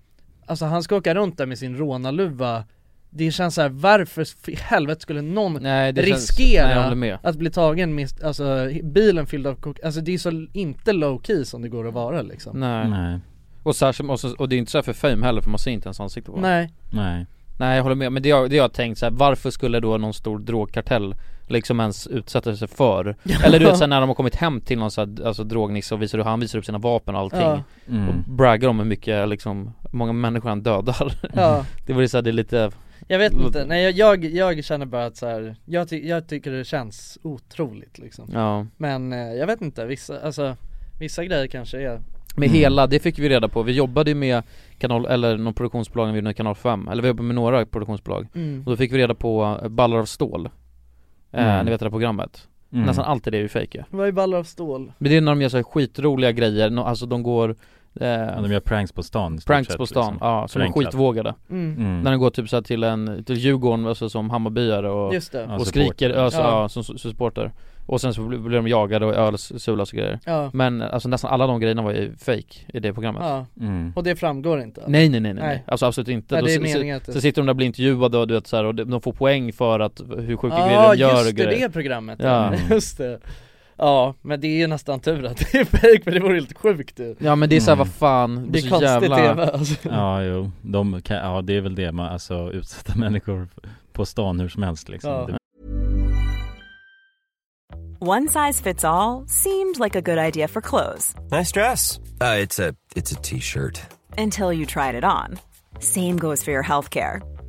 Speaker 4: alltså han ska åka runt där med sin rånarluva det känns så här, varför f- i helvete skulle någon
Speaker 7: Nej det
Speaker 4: riskera
Speaker 7: känns, nej, jag håller med
Speaker 4: att bli tagen med, alltså bilen fylld av kok- alltså det är så inte low key som det går att vara liksom
Speaker 7: Nej,
Speaker 3: Nej,
Speaker 7: Och, särskilt, och, så, och det är inte så här för fame heller för man ser inte ens ansikte på varandra.
Speaker 4: Nej,
Speaker 3: nej.
Speaker 7: Nej jag håller med, men det har, det har jag tänkt så här, varför skulle då någon stor drogkartell liksom ens utsätta sig för? Eller du vet så här, när de har kommit hem till någon så här, alltså drognisse och visar hur han visar upp sina vapen och allting
Speaker 4: Ja.
Speaker 7: och
Speaker 3: Mm.
Speaker 7: braggar om hur mycket liksom, många människor han dödar
Speaker 4: ja
Speaker 7: Det var ju såhär, det är lite,
Speaker 4: Jag vet
Speaker 7: Låt-
Speaker 4: inte, nej jag, jag, jag känner bara att så här, jag, ty- jag tycker det känns otroligt liksom
Speaker 7: ja
Speaker 4: Men eh, jag vet inte, vissa, alltså Vissa grejer kanske är,
Speaker 7: Med
Speaker 3: Mm.
Speaker 7: hela, det fick vi reda på, vi jobbade ju med kanal, eller någon produktionsbolag när vi gjorde kanal 5, eller vi jobbade med några produktionsbolag
Speaker 4: mm.
Speaker 7: Och då fick vi reda på eh, Ballar av stål eh,
Speaker 3: Mm.
Speaker 7: Ni vet det här programmet?
Speaker 3: Mm.
Speaker 7: Nästan alltid det är ju fejk ju.
Speaker 4: vad är ballar av stål?
Speaker 7: Men det är när de gör så här skitroliga grejer, nå- alltså de går eh,
Speaker 3: Ja, de gör pranks på stan i stort
Speaker 7: Pranks
Speaker 3: sett,
Speaker 7: på stan,
Speaker 3: liksom.
Speaker 7: ja, som är
Speaker 3: Förenklat.
Speaker 7: skitvågade
Speaker 4: Mm.
Speaker 3: Mm.
Speaker 7: När de går typ så här till en, till Djurgården alltså, som Hammarbyare och,
Speaker 4: Just det,
Speaker 3: Ja.
Speaker 7: och skriker,
Speaker 3: supporter.
Speaker 7: alltså,
Speaker 4: Ja.
Speaker 7: ja. som su- supporter Och sen så blir blir de jagade och ölsulas och grejer
Speaker 4: ja,
Speaker 7: Men alltså nästan alla de grejerna var ju fake i det programmet
Speaker 4: ja,
Speaker 3: Mm.
Speaker 4: och det framgår inte?
Speaker 7: Nej nej nej nej,
Speaker 4: Nej.
Speaker 7: nej. alltså absolut inte
Speaker 4: Nej,
Speaker 7: Då
Speaker 4: det är
Speaker 7: si- si-
Speaker 4: meningen att det-
Speaker 7: Så sitter de där och blir intervjuade och du vet så här, och de- de får poäng för att hur sjuka grejer
Speaker 4: Ja
Speaker 7: de gör
Speaker 4: just
Speaker 7: och
Speaker 4: det,
Speaker 7: grejer
Speaker 4: det programmet ja.
Speaker 7: Ja.
Speaker 4: just det Ja, men det är ju nästan tur att det är fake för det vore helt sjukt ju
Speaker 7: Ja men det är såhär
Speaker 3: Mm.
Speaker 7: vad fan,
Speaker 4: Det är konstigt tv alltså.
Speaker 3: Ja, jo. De kan, ja, det är väl det man, alltså utsätta människor på stan hur som helst liksom.
Speaker 4: Ja.
Speaker 3: Det
Speaker 1: One size fits all seemed like a good idea for clothes
Speaker 8: Nice dress. Uh, it's a it's a t-shirt.
Speaker 1: until you tried it on. Same goes for your healthcare.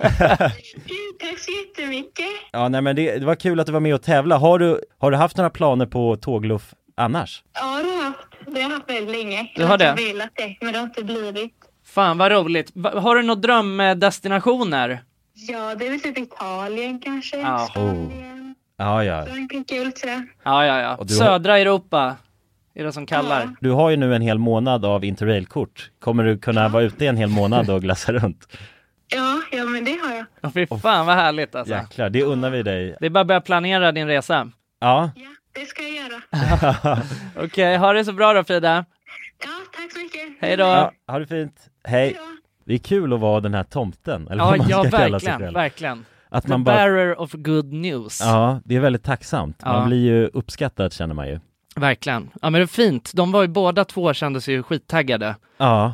Speaker 9: Tack så jättemycket.
Speaker 3: Ja, nej men det, det var kul att du var med och tävla. Har du, har du haft några planer på tågluff annars?
Speaker 9: Ja, det har jag haft. Det har jag haft väldigt länge.
Speaker 10: Du har
Speaker 9: Jag
Speaker 10: det?
Speaker 9: velat det, men det har inte blivit.
Speaker 10: Fan vad roligt. Va- Har du några drömdestinationer?
Speaker 9: Ja, det är väl typ Italien kanske.
Speaker 3: Ja, ja.
Speaker 9: Frankrike, och lite sådär.
Speaker 10: Ja, ja, ja.
Speaker 3: Och du har-
Speaker 10: Södra Europa är det som kallar.
Speaker 3: Du har ju nu en hel månad av interrailkort. Kommer du kunna vara ute en hel månad och glassa runt?
Speaker 9: Ja, ja, men det har jag.
Speaker 10: Åh, Fy fan vad härligt alltså.
Speaker 3: Jäklar, det unnar vi dig.
Speaker 10: Det är bara att börja planera din resa.
Speaker 3: Ja.
Speaker 9: Det ska jag göra.
Speaker 10: Okej, ha det så bra då Frida.
Speaker 9: Tack så mycket.
Speaker 10: Hej då.
Speaker 3: ja, ha det fint. Hej. Det är kul att vara den här tomten, eller
Speaker 10: Ja,
Speaker 3: vad man ska
Speaker 10: ja
Speaker 3: kalla sig
Speaker 10: verkligen,
Speaker 3: själv.
Speaker 10: verkligen.
Speaker 3: Att
Speaker 10: The
Speaker 3: man bara-
Speaker 10: bearer of good news.
Speaker 3: Ja, det är väldigt tacksamt. Man
Speaker 10: Ja.
Speaker 3: blir ju uppskattad känner man ju.
Speaker 10: Verkligen. Ja men det är fint. De var ju båda två kände sig ju skittaggade.
Speaker 3: Ja.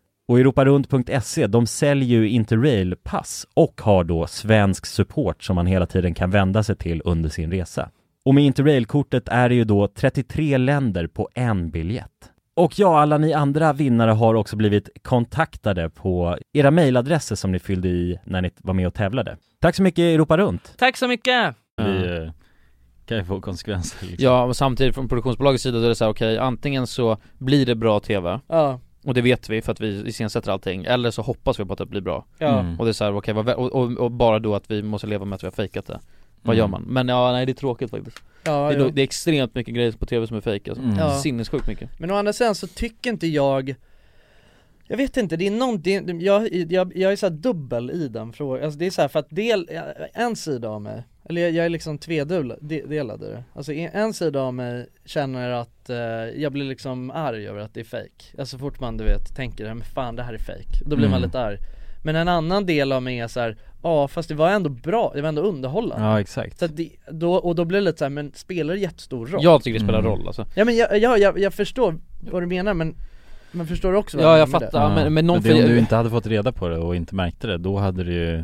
Speaker 3: Och europarunt.se, E, de säljer ju Interrail-pass och har då svensk support som man hela tiden kan vända sig till under sin resa. Och med Interrail-kortet är det ju då 33 länder på en biljett. Och ja, alla ni andra vinnare har också blivit kontaktade på era mejladresser som ni fyllde i när ni var med och tävlade. Tack så mycket Europa Runt!
Speaker 10: Tack så mycket!
Speaker 3: Vi,
Speaker 11: eh,
Speaker 3: kan ju få konsekvenser
Speaker 11: liksom.
Speaker 7: Ja, och samtidigt från produktionsbolagets sida då är det så här, okej, antingen så blir det bra TV
Speaker 4: Ja.
Speaker 7: Och det vet vi för att vi iscensätter allting, eller så hoppas vi på att det blir bra
Speaker 4: Ja. Mm.
Speaker 7: Och det är så här, okej, vad vä- och, och, och bara då att vi måste leva med att vi har fejkat det Vad
Speaker 4: Mm.
Speaker 7: gör man? Men ja, nej det är tråkigt faktiskt
Speaker 4: Ja,
Speaker 7: det, är,
Speaker 4: jo.
Speaker 7: då- det är extremt mycket grejer på TV som är fejk alltså.
Speaker 4: Mm. Ja.
Speaker 7: sinnessjukt mycket
Speaker 4: Men å andra sidan så tycker inte jag jag vet inte, det är någonting, jag, jag, jag är så här dubbel i den frågan, alltså det är så här för att del, en sida av mig, eller jag, jag är liksom tvedel- de- delad i det Alltså en en sida av mig känner att, eh, jag blir liksom arg över att det är fake Alltså så fort man du vet tänker, "Ja, men fan det här är fake då blir man
Speaker 3: Mm.
Speaker 4: lite arg Men en annan del av mig är så här, ja fast det var ändå bra, det var ändå underhållande
Speaker 3: Ja, exakt.
Speaker 4: så att det, då, och då blir det lite så här, men spelar det jättestor roll?
Speaker 7: Jag tycker det spelar Mm. roll, alltså.
Speaker 4: Ja men jag, jag, jag, jag förstår vad du menar men, men förstår du också vad
Speaker 7: Ja, jag
Speaker 4: menar med
Speaker 7: fattar. Ja, men- men någon
Speaker 11: det, är om
Speaker 7: fri-
Speaker 11: du inte hade fått reda på det och inte märkte det, då hade det ju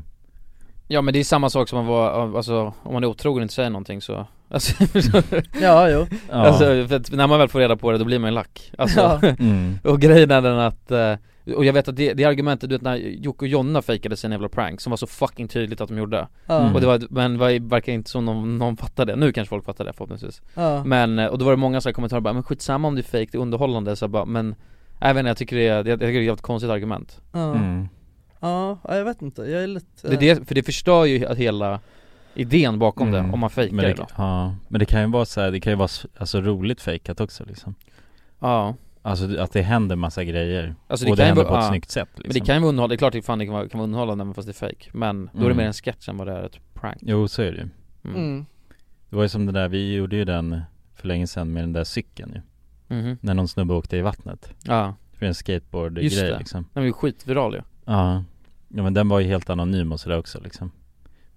Speaker 7: Ja men det är samma sak som att vara, alltså om man är otrogen och inte säger någonting så alltså,
Speaker 4: Ja, jo.
Speaker 7: ja. Alltså för att när man väl får reda på det då blir man ju lack alltså,
Speaker 4: Ja.
Speaker 11: Mm.
Speaker 7: och grejen är den att eh, och jag vet att det, det argumentet, du vet när Jocke och Jonna fejkade sina jävla prank som var så fucking tydligt att de gjorde
Speaker 11: Mm.
Speaker 4: Ja.
Speaker 7: Och det var, men det verkar inte som någon, någon fattade det, nu kanske folk fattar det förhoppningsvis
Speaker 4: Ja.
Speaker 7: Men, eh, och då var det många så här kommentarer bara, men skitsamma om det är fejk, det är underhållande så jag bara, men jag vet inte, jag tycker det är, jag, jag tycker det är ett jävligt konstigt argument
Speaker 4: Ja. Ja, ja, jag vet inte, jag är lite
Speaker 7: det är det, för det förstör ju he- hela idén bakom det, om man fejkar
Speaker 11: Mm. men det,
Speaker 7: då
Speaker 11: Ja, men det kan ju vara så här, det kan ju vara s- alltså, roligt fejkat också liksom
Speaker 7: Ja
Speaker 11: Alltså det- att det händer massa grejer
Speaker 7: Alltså
Speaker 11: och det
Speaker 7: kan ju
Speaker 11: händer
Speaker 7: vara-
Speaker 11: på ett
Speaker 7: ja.
Speaker 11: snyggt sätt liksom.
Speaker 7: Men det kan ju vara underhållande, det är klart det fan det kan vara, kan vara underhållande men fast det är fake Men då är det
Speaker 11: Mm.
Speaker 7: mer en sketch än vad det är ett prank
Speaker 11: Jo så är det ju
Speaker 4: eh,
Speaker 7: Mm. Mm.
Speaker 11: Det var ju som det där, vi gjorde ju den för länge sedan med den där cykeln ju
Speaker 3: Mm-hmm.
Speaker 7: Mhm.
Speaker 11: När någon snubbe åkte i vattnet
Speaker 7: Ja.
Speaker 11: För en skateboardgrej
Speaker 7: Just det,
Speaker 11: liksom
Speaker 7: den var ju skitviral ju
Speaker 11: Ja Ja men den var ju helt anonym och sådär också liksom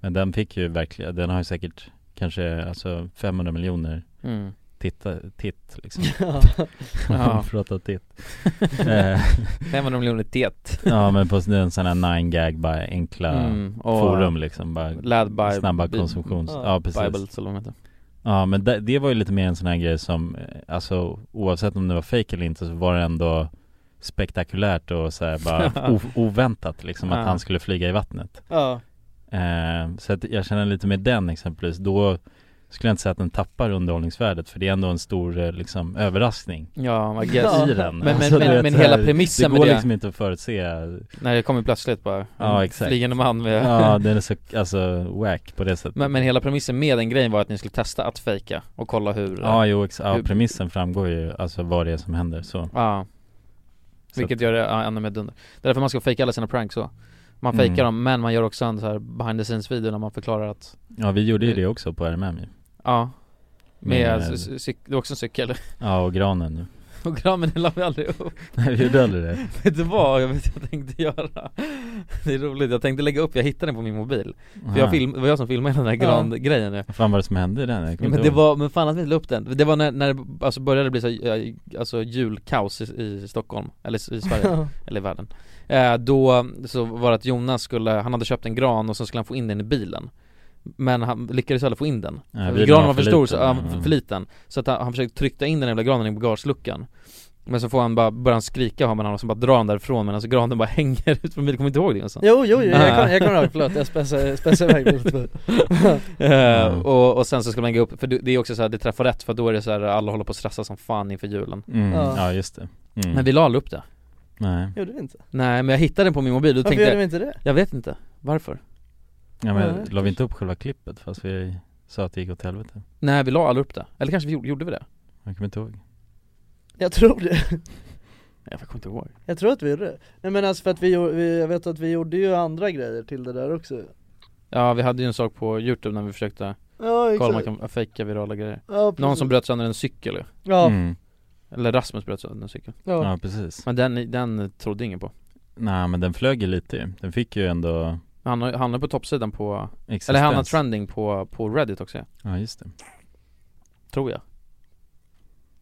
Speaker 11: Men den fick ju verkligen, den har ju säkert kanske alltså 500 miljoner
Speaker 7: Mm.
Speaker 11: titta, titt liksom
Speaker 4: Ja.
Speaker 7: Ja.
Speaker 11: Prata titt Eh,
Speaker 7: 500 miljoner titt
Speaker 11: Ja men på en sån här 9 gag bara enkla
Speaker 7: Mm, och-
Speaker 11: forum liksom bara
Speaker 7: Lad by-
Speaker 11: Snabba
Speaker 7: bi-
Speaker 11: konsumtions,
Speaker 7: ja,
Speaker 11: ja, precis
Speaker 7: Bibles eller vad de heter.
Speaker 11: Ja men det, det var ju lite mer en sån här grej som, eh, alltså oavsett om det var fake eller inte så var det ändå spektakulärt och så här bara o- oväntat liksom
Speaker 7: Ja.
Speaker 11: att han skulle flyga i vattnet
Speaker 4: Ja.
Speaker 11: Eh, så att jag känner lite med den exempelvis, då skulle jag inte säga att den tappar underhållningsvärdet för det är ändå en stor eh, liksom, överraskning
Speaker 7: Ja, I
Speaker 11: I
Speaker 7: guess.
Speaker 11: i den
Speaker 7: Men- men-
Speaker 11: Alltså, du
Speaker 7: men-
Speaker 11: vet,
Speaker 7: men
Speaker 11: så här,
Speaker 7: hela premissen
Speaker 11: Det
Speaker 7: med
Speaker 11: går
Speaker 7: det-
Speaker 11: liksom inte att förutse
Speaker 7: När det kommer plötsligt bara,
Speaker 11: Ja
Speaker 7: en
Speaker 11: exakt
Speaker 7: flygande man med-
Speaker 11: Ja den är så, alltså wack på det sättet
Speaker 7: men, men hela premissen med den grejen var att ni skulle testa att fejka och kolla hur
Speaker 11: Ja jo ex- ja,
Speaker 7: typ hur-
Speaker 11: premissen framgår ju alltså vad det är som händer så
Speaker 7: Ja Vilket gör det ja, ännu mer dunder Det är därför man ska fejka alla sina pranks så Man fejkar
Speaker 11: Mm.
Speaker 7: dem men man gör också en så här behind the scenes video när man förklarar att
Speaker 11: Ja vi gjorde ju det också på RMM ju
Speaker 7: Ja Med,
Speaker 11: Med-
Speaker 7: alltså, cy- cyk- det var också en cykel
Speaker 11: Ja och granen nu
Speaker 7: Och granen la vi aldrig upp
Speaker 11: Nej, vi gjorde aldrig det.
Speaker 7: Vet du vad jag, vet, jag tänkte göra? Det är roligt, jag tänkte lägga upp, jag hittade den på min mobil För jag
Speaker 11: Aha.
Speaker 7: film, det var jag som filmade den här
Speaker 11: Ah. Ja.
Speaker 7: grangrejen ja.
Speaker 11: Vad fan var det som hände i den? Jag kommer
Speaker 7: Ja,
Speaker 11: inte
Speaker 7: men det
Speaker 11: ihåg.
Speaker 7: var, men fan att vi inte la upp den. Det var när, när det alltså började bli så, eh, alltså julkaos i, i Stockholm, eller i Sverige,
Speaker 4: Ja.
Speaker 7: eller i världen eh, Då så var det att Jonas skulle, han hade köpt en gran och så skulle han få in den i bilen Men han lyckades aldrig få in den
Speaker 11: Ja,
Speaker 7: För
Speaker 11: bilen
Speaker 7: Granen
Speaker 11: var
Speaker 7: var för
Speaker 11: för
Speaker 7: stor, så,
Speaker 11: liten.
Speaker 7: ja,
Speaker 11: Mm.
Speaker 7: för liten Så att han, han försökte trycka in den jävla granen i bagageluckan men så får han bara, börjar han skrika har man honom som bara drar han därifrån men alltså granen bara hänger ut från bilen, kommer du inte ihåg det Jonsson?
Speaker 4: Jo, jo, jo, jag
Speaker 7: Ah.
Speaker 4: kommer- jag kommer ihåg. Förlåt, jag spetsade- spetsade iväg lite.
Speaker 7: Eh, och, och sen så ska man lägga upp, för det- det är också så här, det träffar rätt för då är det så här, alla håller på att stressa som fan inför julen
Speaker 11: Mm, Ja. ja, just det. Mm.
Speaker 7: Men vi la aldrig upp det
Speaker 11: Nej
Speaker 4: Gjorde vi inte?
Speaker 7: Nej men jag hittade den på min mobil, då
Speaker 4: Varför
Speaker 7: tänkte
Speaker 4: gjorde
Speaker 7: jag-
Speaker 4: vi inte det?
Speaker 7: Jag vet inte, varför?
Speaker 11: Ja
Speaker 7: Ja,
Speaker 11: men
Speaker 7: det
Speaker 11: la vi inte upp själva klippet fast vi sa att det gick åt helvete?
Speaker 7: Nej vi la aldrig upp det, eller kanske vi gjorde, gjorde vi det?
Speaker 11: Jag kommer inte ihåg
Speaker 4: Jag tror det.
Speaker 7: Jag kommer inte ihåg
Speaker 4: Jag tror att vi gjorde det. Nej men alltså för att vi, gjorde- vi, jag vet att vi gjorde ju andra grejer till det där också.
Speaker 7: Ja vi hade ju en sak på youtube när vi försökte
Speaker 4: Ja,
Speaker 7: kolla om man
Speaker 4: exakt.
Speaker 7: kan fejka virala grejer
Speaker 4: Ja, precis.
Speaker 7: Någon som bröt sönder en cykel ju.
Speaker 4: Ja. Mm.
Speaker 7: Eller Rasmus bröt sönder en cykel
Speaker 4: Ja. Ja,
Speaker 11: precis
Speaker 7: Men den, den trodde ingen på
Speaker 11: Nej men den flög ju lite ju. Den fick ju ändå
Speaker 7: Han har- hamnade på toppsidan på,
Speaker 11: Existens.
Speaker 7: eller han har trending på, på Reddit också ja.
Speaker 11: Ja just det
Speaker 7: Tror jag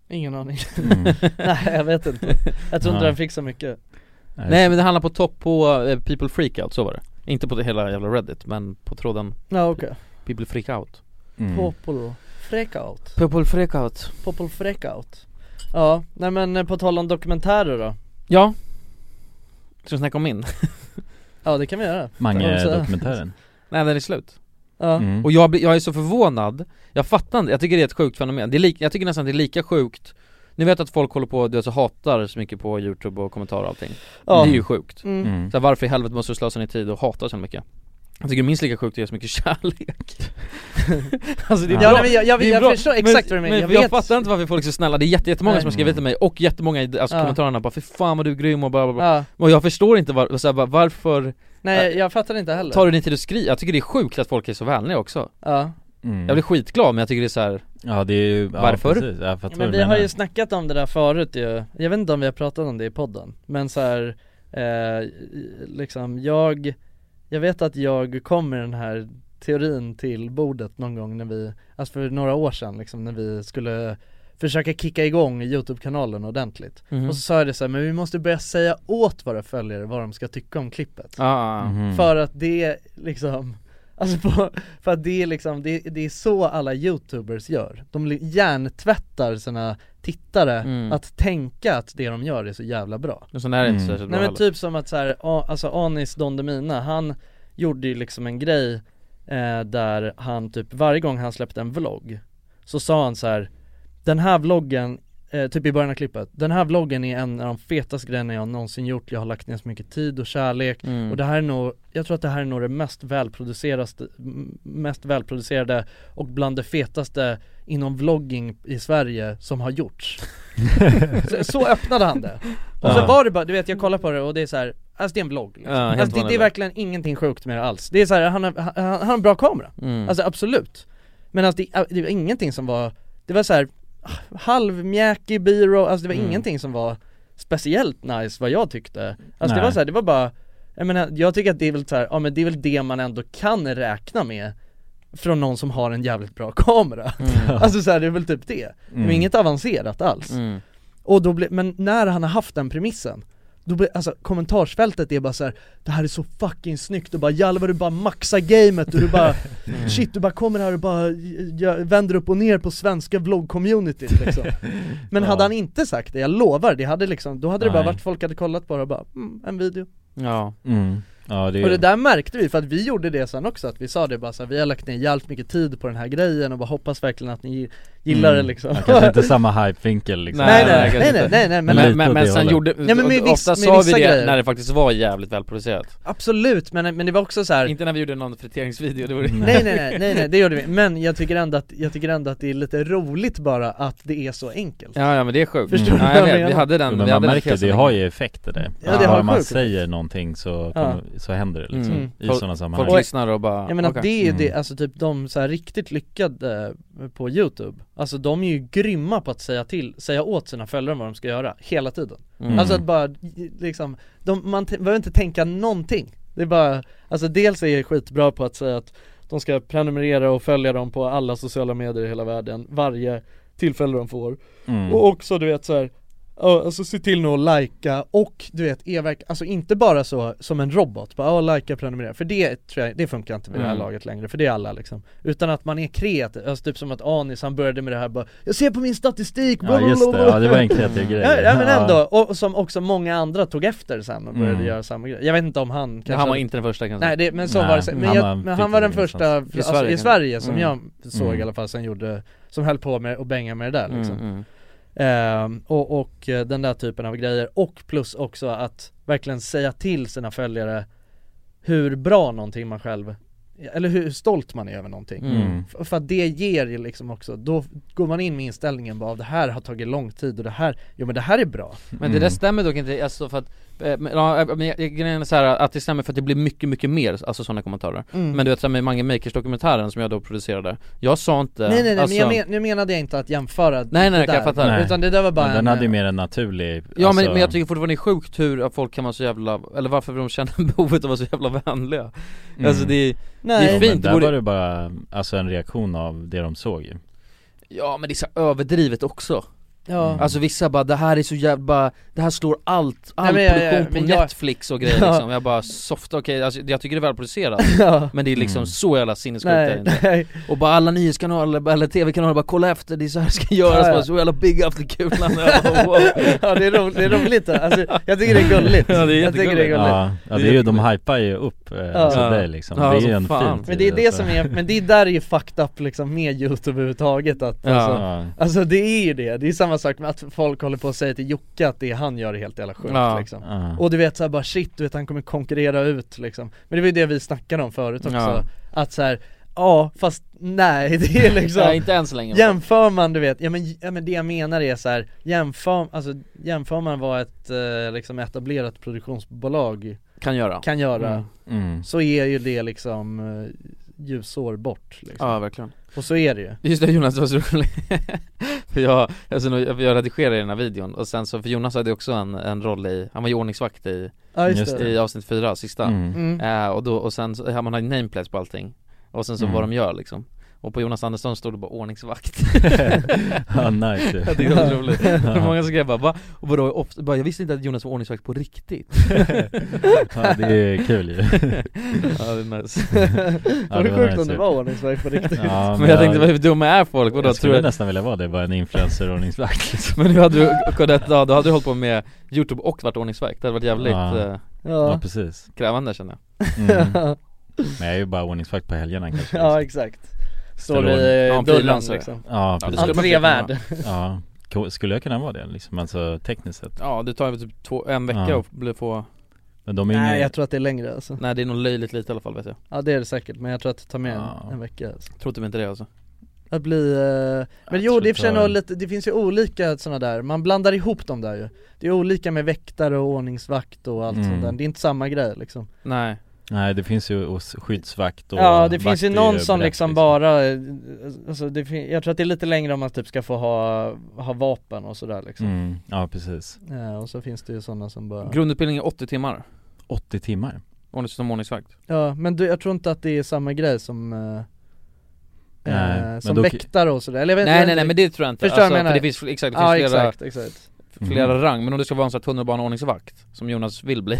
Speaker 4: Ingen aning.
Speaker 11: Mm.
Speaker 4: Nej jag vet inte. Jag tror inte den fick så mycket.
Speaker 7: Nej men det handlar på topp på eh, People Freak Out, så var det Inte på det hela jävla Reddit men på tråden
Speaker 4: Ja, okej.
Speaker 7: People Freak Out
Speaker 11: Mm.
Speaker 4: Popolo. Freakout.
Speaker 7: People Freak Out
Speaker 4: Popol Freakout. Ja, nej men eh, på tal om dokumentärer då.
Speaker 7: Ja Ska vi snacka om min?
Speaker 4: Ja det kan vi göra.
Speaker 11: Mange-dokumentären
Speaker 7: Nej den är slut
Speaker 4: Ja.
Speaker 11: Mm.
Speaker 7: Och jag, blir- jag är så förvånad Jag fattar inte, jag tycker det är ett sjukt fenomen det är lika, Jag tycker nästan det är lika sjukt Ni vet att folk håller på, du vet, så hatar så mycket på youtube och kommentarer och allting
Speaker 4: Ja.
Speaker 7: Det är ju sjukt
Speaker 4: Mm. Mm.
Speaker 7: så här, Varför i helvete måste du slösa ner tid och hata så mycket? Jag tycker det är minst lika sjukt att ge så mycket kärlek Alltså det är
Speaker 4: Ja,
Speaker 7: bra,
Speaker 4: nej, men jag- jag-
Speaker 7: det är
Speaker 4: jag
Speaker 7: bra.
Speaker 4: förstår
Speaker 7: Men-
Speaker 4: exakt vad du menar.
Speaker 7: men
Speaker 4: Jag
Speaker 7: jag,
Speaker 4: vet.
Speaker 7: fattar inte varför folk är så snälla, det är jätte, jättemånga som har skrivit till mig och jättemånga i alltså,
Speaker 4: Ja.
Speaker 7: kommentarerna bara 'Fy fan vad du är grym' och bla bla bla
Speaker 4: Ja.
Speaker 7: Och jag förstår inte var, så här, bara, varför
Speaker 4: Nej jag fattar inte heller.
Speaker 7: Tar du din tid att skriva? Jag tycker det är sjukt att folk är så vänliga också
Speaker 4: Ja.
Speaker 11: Mm.
Speaker 7: Jag blir skitglad men jag tycker det är så här.
Speaker 11: Ja det är ju, ja,
Speaker 7: Varför?
Speaker 11: precis. Jag fattar
Speaker 4: Men
Speaker 11: vad
Speaker 4: vi
Speaker 11: du
Speaker 4: har
Speaker 11: menar.
Speaker 4: ju snackat om det där förut ju, jag vet inte om vi har pratat om det i podden Men så här, eh, liksom jag, jag vet att jag kom med den här teorin till bordet någon gång när vi, alltså för några år sedan liksom när vi skulle försöka kicka igång Youtube-kanalen ordentligt
Speaker 7: Mhm.
Speaker 4: Och så sa jag det så här, men vi måste börja säga åt våra följare vad de ska tycka om klippet
Speaker 7: Ah.
Speaker 11: Mm.
Speaker 7: Mhm.
Speaker 4: För att det liksom Alltså på, för att det är liksom, det, det är så alla youtubers gör. De li- hjärntvättar sina tittare
Speaker 7: Mm.
Speaker 4: att tänka att det de gör är så jävla bra.
Speaker 7: Och sån här är
Speaker 11: Mm.
Speaker 7: inte så särskilt bra
Speaker 4: Nej men
Speaker 7: heller.
Speaker 4: typ som att så här, A- alltså Anis Don Demina, han gjorde ju liksom en grej eh, där han typ varje gång han släppte en vlogg så sa han så här den här vloggen, eh, typ i början av klippet, den här vloggen är en av de fetaste grejerna jag någonsin gjort, jag har lagt ner så mycket tid och kärlek
Speaker 7: Mm.
Speaker 4: och det här är nog, jag tror att det här är nog det mest välproducerade, mest välproducerade och bland det fetaste inom vlogging i Sverige som har gjorts. så, så öppnade han det. Och så
Speaker 7: Ja.
Speaker 4: var det bara, du vet jag kollar på det och det är så här, alltså det är en vlogg liksom.
Speaker 7: Ja, helt
Speaker 4: alltså, det, det är
Speaker 7: vanlig
Speaker 4: verkligen ingenting sjukt med det alls. Det är så här, han har, han, han har en bra kamera.
Speaker 7: Mm.
Speaker 4: Alltså absolut. Men alltså det, det var ingenting som var, det var så här halvmjäkig byrå, alltså det var
Speaker 7: Mm.
Speaker 4: ingenting som var speciellt nice vad jag tyckte. Alltså det
Speaker 7: Nej.
Speaker 4: var så här, det var bara, jag menar, jag tycker att det är väl så här, ja men det är väl det man ändå kan räkna med från någon som har en jävligt bra kamera. Alltså så här, det är väl typ det. Det
Speaker 7: Mm.
Speaker 4: är inget avancerat alls.
Speaker 7: Mm.
Speaker 4: Och då blir, men när han har haft den premissen då blir, alltså kommentarsfältet är bara så här: det här är så fucking snyggt och bara jävlar vad du bara maxar gamet och du bara shit du bara kommer här och bara jag vänder upp och ner på svenska vlogg-communityt liksom. Men hade han inte sagt det, jag lovar, det hade liksom, då hade det bara
Speaker 7: Nej.
Speaker 4: varit folk hade kollat bara och bara mm, en video
Speaker 7: Ja
Speaker 11: Mm. Ja, det
Speaker 4: Och det
Speaker 11: är...
Speaker 4: där märkte vi för att vi gjorde det sen också, att vi sa det bara så här, vi har lagt ner jävligt mycket tid på den här grejen och bara hoppas verkligen att ni gillar det
Speaker 11: Mm.
Speaker 4: liksom
Speaker 11: Ja, kanske inte samma hypevinkel liksom
Speaker 4: Nej, nej, nej, nej, nej, nej, men-
Speaker 7: Men, men, men,
Speaker 4: men
Speaker 7: sen gjorde,
Speaker 4: Nej, men med
Speaker 7: ofta
Speaker 4: viss- med
Speaker 7: sa vi
Speaker 4: vissa
Speaker 7: det
Speaker 4: grejer.
Speaker 7: när det faktiskt var jävligt välproducerat
Speaker 4: Absolut, men, men det var också så här.
Speaker 7: Inte när vi gjorde någon friteringsvideo, det var det
Speaker 4: Nej nej nej, nej nej det gjorde vi, men jag tycker ändå att, jag tycker ändå att det är lite roligt bara att det är så enkelt
Speaker 7: Ja ja men det är sjukt
Speaker 4: Förstår du
Speaker 7: Nej,
Speaker 4: vad jag
Speaker 7: vet, vi
Speaker 4: menar?
Speaker 7: hade den,
Speaker 11: men
Speaker 7: vi
Speaker 11: man
Speaker 7: hade
Speaker 11: märker
Speaker 7: den
Speaker 11: att det har ju effekter det.
Speaker 4: Ja, det har
Speaker 11: Bara man
Speaker 4: sjukt.
Speaker 11: säger någonting så, kommer, så händer det liksom,
Speaker 4: Mm.
Speaker 11: i
Speaker 7: Folk-
Speaker 11: sådana sammanhang
Speaker 7: Folk lyssnar och bara,
Speaker 4: Jag menar
Speaker 7: okej.
Speaker 4: det är ju
Speaker 7: Mm.
Speaker 4: det, alltså typ de så här riktigt lyckade eh, på youtube Alltså de är ju grymma på att säga till, säga åt sina följare vad de ska göra, hela tiden
Speaker 7: Mm.
Speaker 4: Alltså att bara, liksom, de, man t- behöver inte tänka någonting Det är bara, alltså dels är jag skitbra på att säga att de ska prenumerera och följa dem på alla sociala medier i hela världen, varje tillfälle de får
Speaker 11: Mm.
Speaker 4: Och också du vet så här, ja, alltså se till nu att likea och du vet e-verk, alltså inte bara så som en robot, bara oh, likea, prenumerera, för det tror jag, det funkar inte med det här
Speaker 7: Mm.
Speaker 4: laget längre, för det är alla liksom Utan att man är kreativ, alltså typ som att Anis han började med det här bara, jag ser på min statistik,
Speaker 11: Ja, just det. Ja, det var en kreativ grej.
Speaker 4: ja, ja men
Speaker 11: Ja.
Speaker 4: ändå, och som också många andra tog efter sen och började
Speaker 11: Mm.
Speaker 4: göra samma grej Jag vet inte om han kanske
Speaker 7: han var inte den första kanske.
Speaker 4: Nej det, men så
Speaker 7: Nej.
Speaker 4: var det, sen. men,
Speaker 7: Han
Speaker 4: jag,
Speaker 7: var-
Speaker 4: men
Speaker 7: fick
Speaker 4: han var
Speaker 7: det
Speaker 4: den första,
Speaker 7: någonstans. I
Speaker 4: alltså,
Speaker 7: Sverige
Speaker 4: i
Speaker 7: kanske.
Speaker 4: Sverige som
Speaker 7: Mm.
Speaker 4: jag såg
Speaker 7: Mm.
Speaker 4: i alla fall som gjorde, som höll på med och bänga med det där liksom
Speaker 7: Mm, mm.
Speaker 4: Ehm, och, och eh, den där typen av grejer och plus också att verkligen säga till sina följare hur bra någonting man själv eller hur stolt man är över någonting.
Speaker 11: Mm.
Speaker 4: F- För att det ger ju liksom också, då går man in med inställningen bara det här har tagit lång tid och det här, jo men det här är bra.
Speaker 7: Men
Speaker 11: Mm.
Speaker 7: det där stämmer dock inte, alltså för att eh, men, ja, eh, men jag- jag- grejen är så här att det stämmer för att det blir mycket, mycket mer, alltså sådana kommentarer
Speaker 4: Mm.
Speaker 7: Men du vet såhär med Mange Makers dokumentären som jag då producerade Jag sa inte,
Speaker 4: nej nej nej,
Speaker 7: alltså,
Speaker 4: men jag men, nu menade jag inte att jämföra
Speaker 7: nej, nej,
Speaker 4: det
Speaker 7: jag
Speaker 4: där,
Speaker 7: fattar. Nej.
Speaker 4: utan det där var bara
Speaker 11: Men Den
Speaker 4: en,
Speaker 11: hade ju mer en naturlig
Speaker 7: Ja men,
Speaker 11: alltså-
Speaker 7: men jag tycker fortfarande det är sjukt hur att folk kan vara så jävla, eller varför de känner behovet av att vara så jävla vänliga
Speaker 11: Mm.
Speaker 7: Alltså det är, det
Speaker 11: Ja,
Speaker 7: är
Speaker 11: men
Speaker 7: fint, det
Speaker 11: där
Speaker 7: borde,
Speaker 11: var det bara, alltså en reaktion av det de såg ju
Speaker 7: ja men det är så överdrivet också
Speaker 4: Ja. Mm.
Speaker 7: Alltså vissa bara, det här är så jävla, bara, det här slår allt,
Speaker 4: Nej,
Speaker 7: all
Speaker 4: men jag- jag-
Speaker 7: produktion på
Speaker 4: men jag-
Speaker 7: Netflix och grejer
Speaker 4: Ja.
Speaker 7: liksom Jag bara, softa okej, alltså, jag tycker det är välproducerat
Speaker 4: Ja.
Speaker 7: Men det är liksom
Speaker 4: Mm.
Speaker 7: så jävla sinnessjukt
Speaker 4: Nej,
Speaker 7: är det inte.
Speaker 4: nej.
Speaker 7: Och bara alla nyhetskanaler, alla tv-kanaler bara kolla efter, det är så här det ska göras,
Speaker 4: Ja, ja.
Speaker 7: bara, så jävla big after kulan Jag bara, wow.
Speaker 4: Ja det är roligt, det är roligt alltså, jag tycker det är gulligt.
Speaker 7: Ja, det är
Speaker 4: jag tycker det är
Speaker 7: jättegulligt.
Speaker 4: gulligt.
Speaker 11: Ja, ja det är ju, de hypar ju upp eh, alltså dig liksom, det är ju en fin alltså.
Speaker 4: Men det är det som är, men det är där det är fucked up liksom med youtube överhuvudtaget att
Speaker 11: Ja.
Speaker 4: alltså,
Speaker 11: Ja.
Speaker 4: alltså det är ju det, det är samma sak med att folk håller på att säga till Jocke att det han gör är helt jävla sjukt
Speaker 7: Ja.
Speaker 4: liksom
Speaker 7: Ja.
Speaker 4: Och du vet såhär bara shit, du vet han kommer konkurrera ut liksom Men det var ju det vi snackade om förut också,
Speaker 7: Ja.
Speaker 4: att såhär Ja fast nej det är liksom
Speaker 7: Nej, inte än så länge.
Speaker 4: Jämför man du vet, ja men, ja, men det jag menar är så här, jämför, alltså, jämför man vad ett eh, liksom etablerat produktionsbolag
Speaker 7: Kan göra.
Speaker 4: Kan göra
Speaker 7: Mm. Mm.
Speaker 4: Så är ju det liksom eh, ljusår bort liksom.
Speaker 7: Ja, verkligen.
Speaker 4: Och så är det ju
Speaker 7: Just det Jonas, det var så roligt För jag, alltså, när jag jag redigerade den här videon och sen så, för Jonas hade också en, en roll i, han var ju ordningsvakt i,
Speaker 4: Ja, just det.
Speaker 7: i avsnitt fyra, sista
Speaker 4: Mm.
Speaker 7: Eh, och, då, och sen, så, ja, man har ju nameplates på allting Och sen så
Speaker 11: Mm.
Speaker 7: vad de gör liksom och på Jonas Andersson stod det bara ordningsvakt
Speaker 11: Ja, nice.
Speaker 7: Jag tyckte det var så roligt, det var
Speaker 11: Ja.
Speaker 7: många som skrev bara va? Och vadå, off- bara, jag visste inte att Jonas var ordningsvakt på riktigt
Speaker 11: Ja, det är kul ju.
Speaker 7: Ja det är nice
Speaker 4: Var det sjukt om det var ordningsvakt på riktigt?
Speaker 11: Ja,
Speaker 7: men jag tänkte, hur dumma är folk? Vadå,
Speaker 11: jag
Speaker 7: tror
Speaker 11: skulle
Speaker 7: jag-
Speaker 11: nästan vilja vara det, bara en influencer-ordningsvakt liksom.
Speaker 7: Men du hade du kunnat, ja, då hade du hållit på med youtube och varit ordningsvakt, det hade varit jävligt
Speaker 11: Ja.
Speaker 7: eh,
Speaker 4: Ja.
Speaker 11: Ja, precis.
Speaker 7: krävande känner jag
Speaker 11: Mm. Men jag är ju bara ordningsvakt på helgerna kanske
Speaker 4: Ja exakt Står
Speaker 11: Stallone.
Speaker 4: i
Speaker 7: Ja, en
Speaker 4: dörren
Speaker 7: frilansare.
Speaker 4: liksom
Speaker 11: Ja, precis.
Speaker 4: Entrévärd
Speaker 11: Ja, Ko- skulle jag kunna vara det liksom, alltså tekniskt sett?
Speaker 7: Ja det tar ju typ två, en vecka
Speaker 11: Ja.
Speaker 7: att bli få
Speaker 11: Men de är ju
Speaker 4: Nej
Speaker 11: ingen...
Speaker 4: jag tror att det är längre alltså
Speaker 7: Nej det är nog löjligt lite i alla fall vet jag
Speaker 4: Ja det är det säkert, men jag tror att det tar mer än en vecka alltså.
Speaker 7: Tror typ inte det alltså
Speaker 4: Att bli, eh, men jo
Speaker 7: tror
Speaker 4: det är
Speaker 7: det
Speaker 4: för sig
Speaker 7: tar-
Speaker 4: nog lite, det finns ju olika sådana där, man blandar ihop dem där ju Det är olika med väktare och ordningsvakt och allt
Speaker 11: Mm.
Speaker 4: sånt där, det är inte samma grej liksom
Speaker 7: Nej
Speaker 11: Nej, det finns ju os- skyddsvakt och
Speaker 4: Ja det finns
Speaker 11: vakt
Speaker 4: ju
Speaker 11: är
Speaker 4: någon som
Speaker 11: brett,
Speaker 4: liksom bara, eh, alltså det, fin- jag tror att det är lite längre om man typ ska få ha, ha vapen och sådär liksom
Speaker 11: Mm, ja precis.
Speaker 4: ja, Eh, Och så finns det ju sådana som bara
Speaker 7: Grundutbildning är 80 timmar
Speaker 11: 80 timmar?
Speaker 7: Ordnings- Som ordningsvakt
Speaker 4: Ja men du, jag tror inte att det är samma grej som eh,
Speaker 7: Nej,
Speaker 4: eh,
Speaker 7: men
Speaker 4: Som
Speaker 7: då-
Speaker 4: väktare och sådär, eller jag vet
Speaker 7: Nej
Speaker 4: jag
Speaker 7: nej
Speaker 4: vet
Speaker 7: nej men det tror jag inte
Speaker 4: Förstår
Speaker 7: Alltså,
Speaker 4: jag menar?
Speaker 7: För det finns, exakt, det
Speaker 4: ja,
Speaker 7: finns flera,
Speaker 4: exakt, exakt
Speaker 7: flera rang, men om du ska vara en sån här tunnelbaneordningsvakt Som Jonas vill bli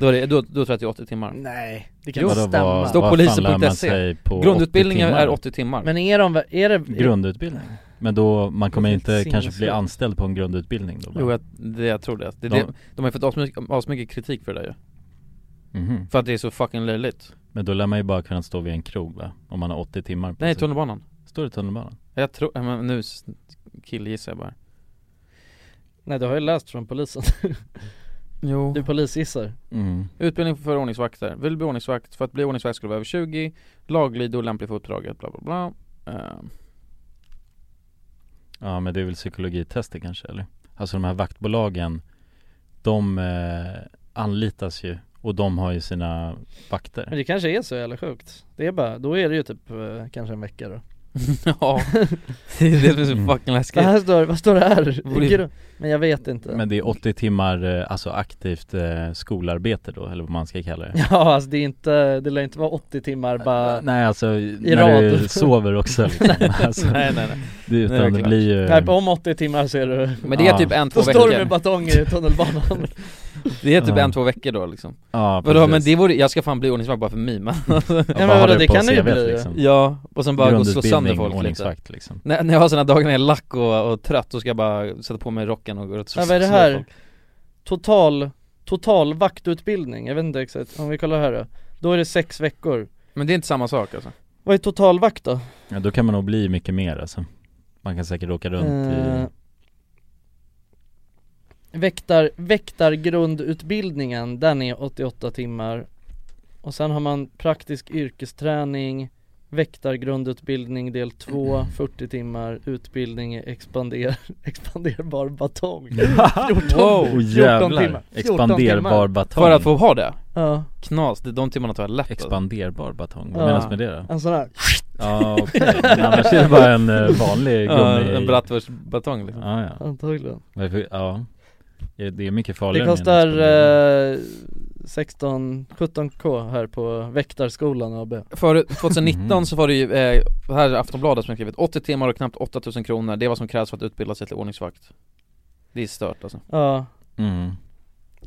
Speaker 7: Då, är det, då, då tror jag att det är 80 timmar
Speaker 4: Nej, det
Speaker 11: kan inte stämma. vad-
Speaker 7: Står
Speaker 11: vad fan lär man
Speaker 4: E.
Speaker 7: polisen.se
Speaker 11: sig på
Speaker 7: Grundutbildningen
Speaker 11: 80
Speaker 7: är
Speaker 11: timmar?
Speaker 7: 80 timmar
Speaker 4: Men är de, är det
Speaker 11: Grundutbildning? Men då, man kommer inte
Speaker 4: Sinnessjukt.
Speaker 11: kanske bli anställd på en grundutbildning då bara.
Speaker 7: Jo jag, det, jag tror det, det, är
Speaker 11: De-
Speaker 7: det de har ju fått asmycket, asmycket kritik för det där ju
Speaker 3: Mhm.
Speaker 7: För att det är så fucking löjligt
Speaker 3: Men då lär man ju bara kunna stå vid en krog va? Om man har 80 timmar på
Speaker 7: Nej,
Speaker 3: sig.
Speaker 7: tunnelbanan
Speaker 3: Står det tunnelbanan?
Speaker 7: Jag tror, ja, men nu s- killgissar jag bara
Speaker 4: Nej du har ju läst från polisen
Speaker 7: Jo
Speaker 4: Du polisgissar
Speaker 3: Mm.
Speaker 7: Utbildning för ordningsvakter, vill bli ordningsvakt, för att bli ordningsvakt ska du vara över 20 Laglydig och lämplig för uppdraget, bla bla bla Ehm,
Speaker 3: Ja men det är väl psykologitester kanske eller? Alltså de här vaktbolagen De eh, anlitas ju och de har ju sina vakter
Speaker 4: Men det kanske är så jävla sjukt Det är bara, då är det ju typ eh, kanske en vecka då
Speaker 7: Ja, Mm. det är det som är så fucking
Speaker 4: Det
Speaker 7: läskigt
Speaker 4: här står, vad står det här?
Speaker 7: Borde-
Speaker 4: Gru- Men jag vet inte
Speaker 3: Men det är 80 timmar eh, alltså aktivt eh, skolarbete då eller vad man ska kalla det
Speaker 4: Ja alltså det är inte, det lär inte vara 80 timmar bara
Speaker 3: Nej alltså när
Speaker 4: rad.
Speaker 3: du sover också liksom. alltså,
Speaker 4: Nej, nej, nej.
Speaker 3: Det, utan
Speaker 7: Nej, det är
Speaker 3: det,
Speaker 7: klart.
Speaker 3: blir ju
Speaker 4: Nej, på om 80 timmar så är du
Speaker 7: Men det är typ en, två
Speaker 4: Då står du
Speaker 7: veckor.
Speaker 4: med batong i tunnelbanan
Speaker 7: Det är typ
Speaker 3: Ja.
Speaker 7: en, två veckor då liksom
Speaker 3: Ja,
Speaker 7: Vadå, men
Speaker 3: precis.
Speaker 7: det vore, jag ska fan bli ordningsvakt bara för mima
Speaker 3: Ja, men vadå, det kan du ju bli. liksom?
Speaker 7: Ja, och sen bara gå och slå
Speaker 3: Grundutbildning,
Speaker 7: sönder folk lite
Speaker 3: ordningsvakt, liksom.
Speaker 7: när, när jag har såna dagar när jag är lack och, och trött, då ska jag bara sätta på mig rocken och gå och slå
Speaker 4: Ja, vad är det
Speaker 7: slå
Speaker 4: här?
Speaker 7: folk.
Speaker 4: Total, total vaktutbildning, jag vet inte exakt, om vi kollar här då Då är det sex veckor
Speaker 7: Men det är inte samma sak alltså
Speaker 4: Vad är totalvakt då?
Speaker 3: ja, då kan man nog bli mycket mer alltså Man kan säkert åka runt i
Speaker 4: Eh, Väktar, väktargrundutbildningen, den är 88 timmar Och sen har man praktisk yrkesträning Väktargrundutbildning del 2, 40 timmar Utbildning i expander, expanderbar batong 14,
Speaker 7: Wow,
Speaker 4: 14
Speaker 3: jävlar.
Speaker 4: timmar 14
Speaker 3: Expanderbar
Speaker 4: timmar.
Speaker 3: batong.
Speaker 7: För att få ha det?
Speaker 4: Ja.
Speaker 7: Knas, det- de timmarna tar jag lätt
Speaker 3: Expanderbar batong, vad menas med det då?
Speaker 4: En sån här
Speaker 3: Ja okej, men annars är det bara en eh, vanlig
Speaker 7: Ja,
Speaker 3: gummi
Speaker 7: en bratwurstbatong liksom
Speaker 3: Ja ja
Speaker 4: Antagligen.
Speaker 3: Varför- Ja Det- Det är mycket
Speaker 4: Det
Speaker 3: farligare med en
Speaker 4: kostar
Speaker 3: expanderbar.
Speaker 4: eh, 16, 17k här på Väktarskolan AB
Speaker 7: För 2019 så var det ju, eh, här är Aftonbladet som har skrivit 80 timmar och knappt 8000 kronor, det är vad som krävs för att utbilda sig till ordningsvakt Det är stört alltså
Speaker 4: Ja
Speaker 3: Mm.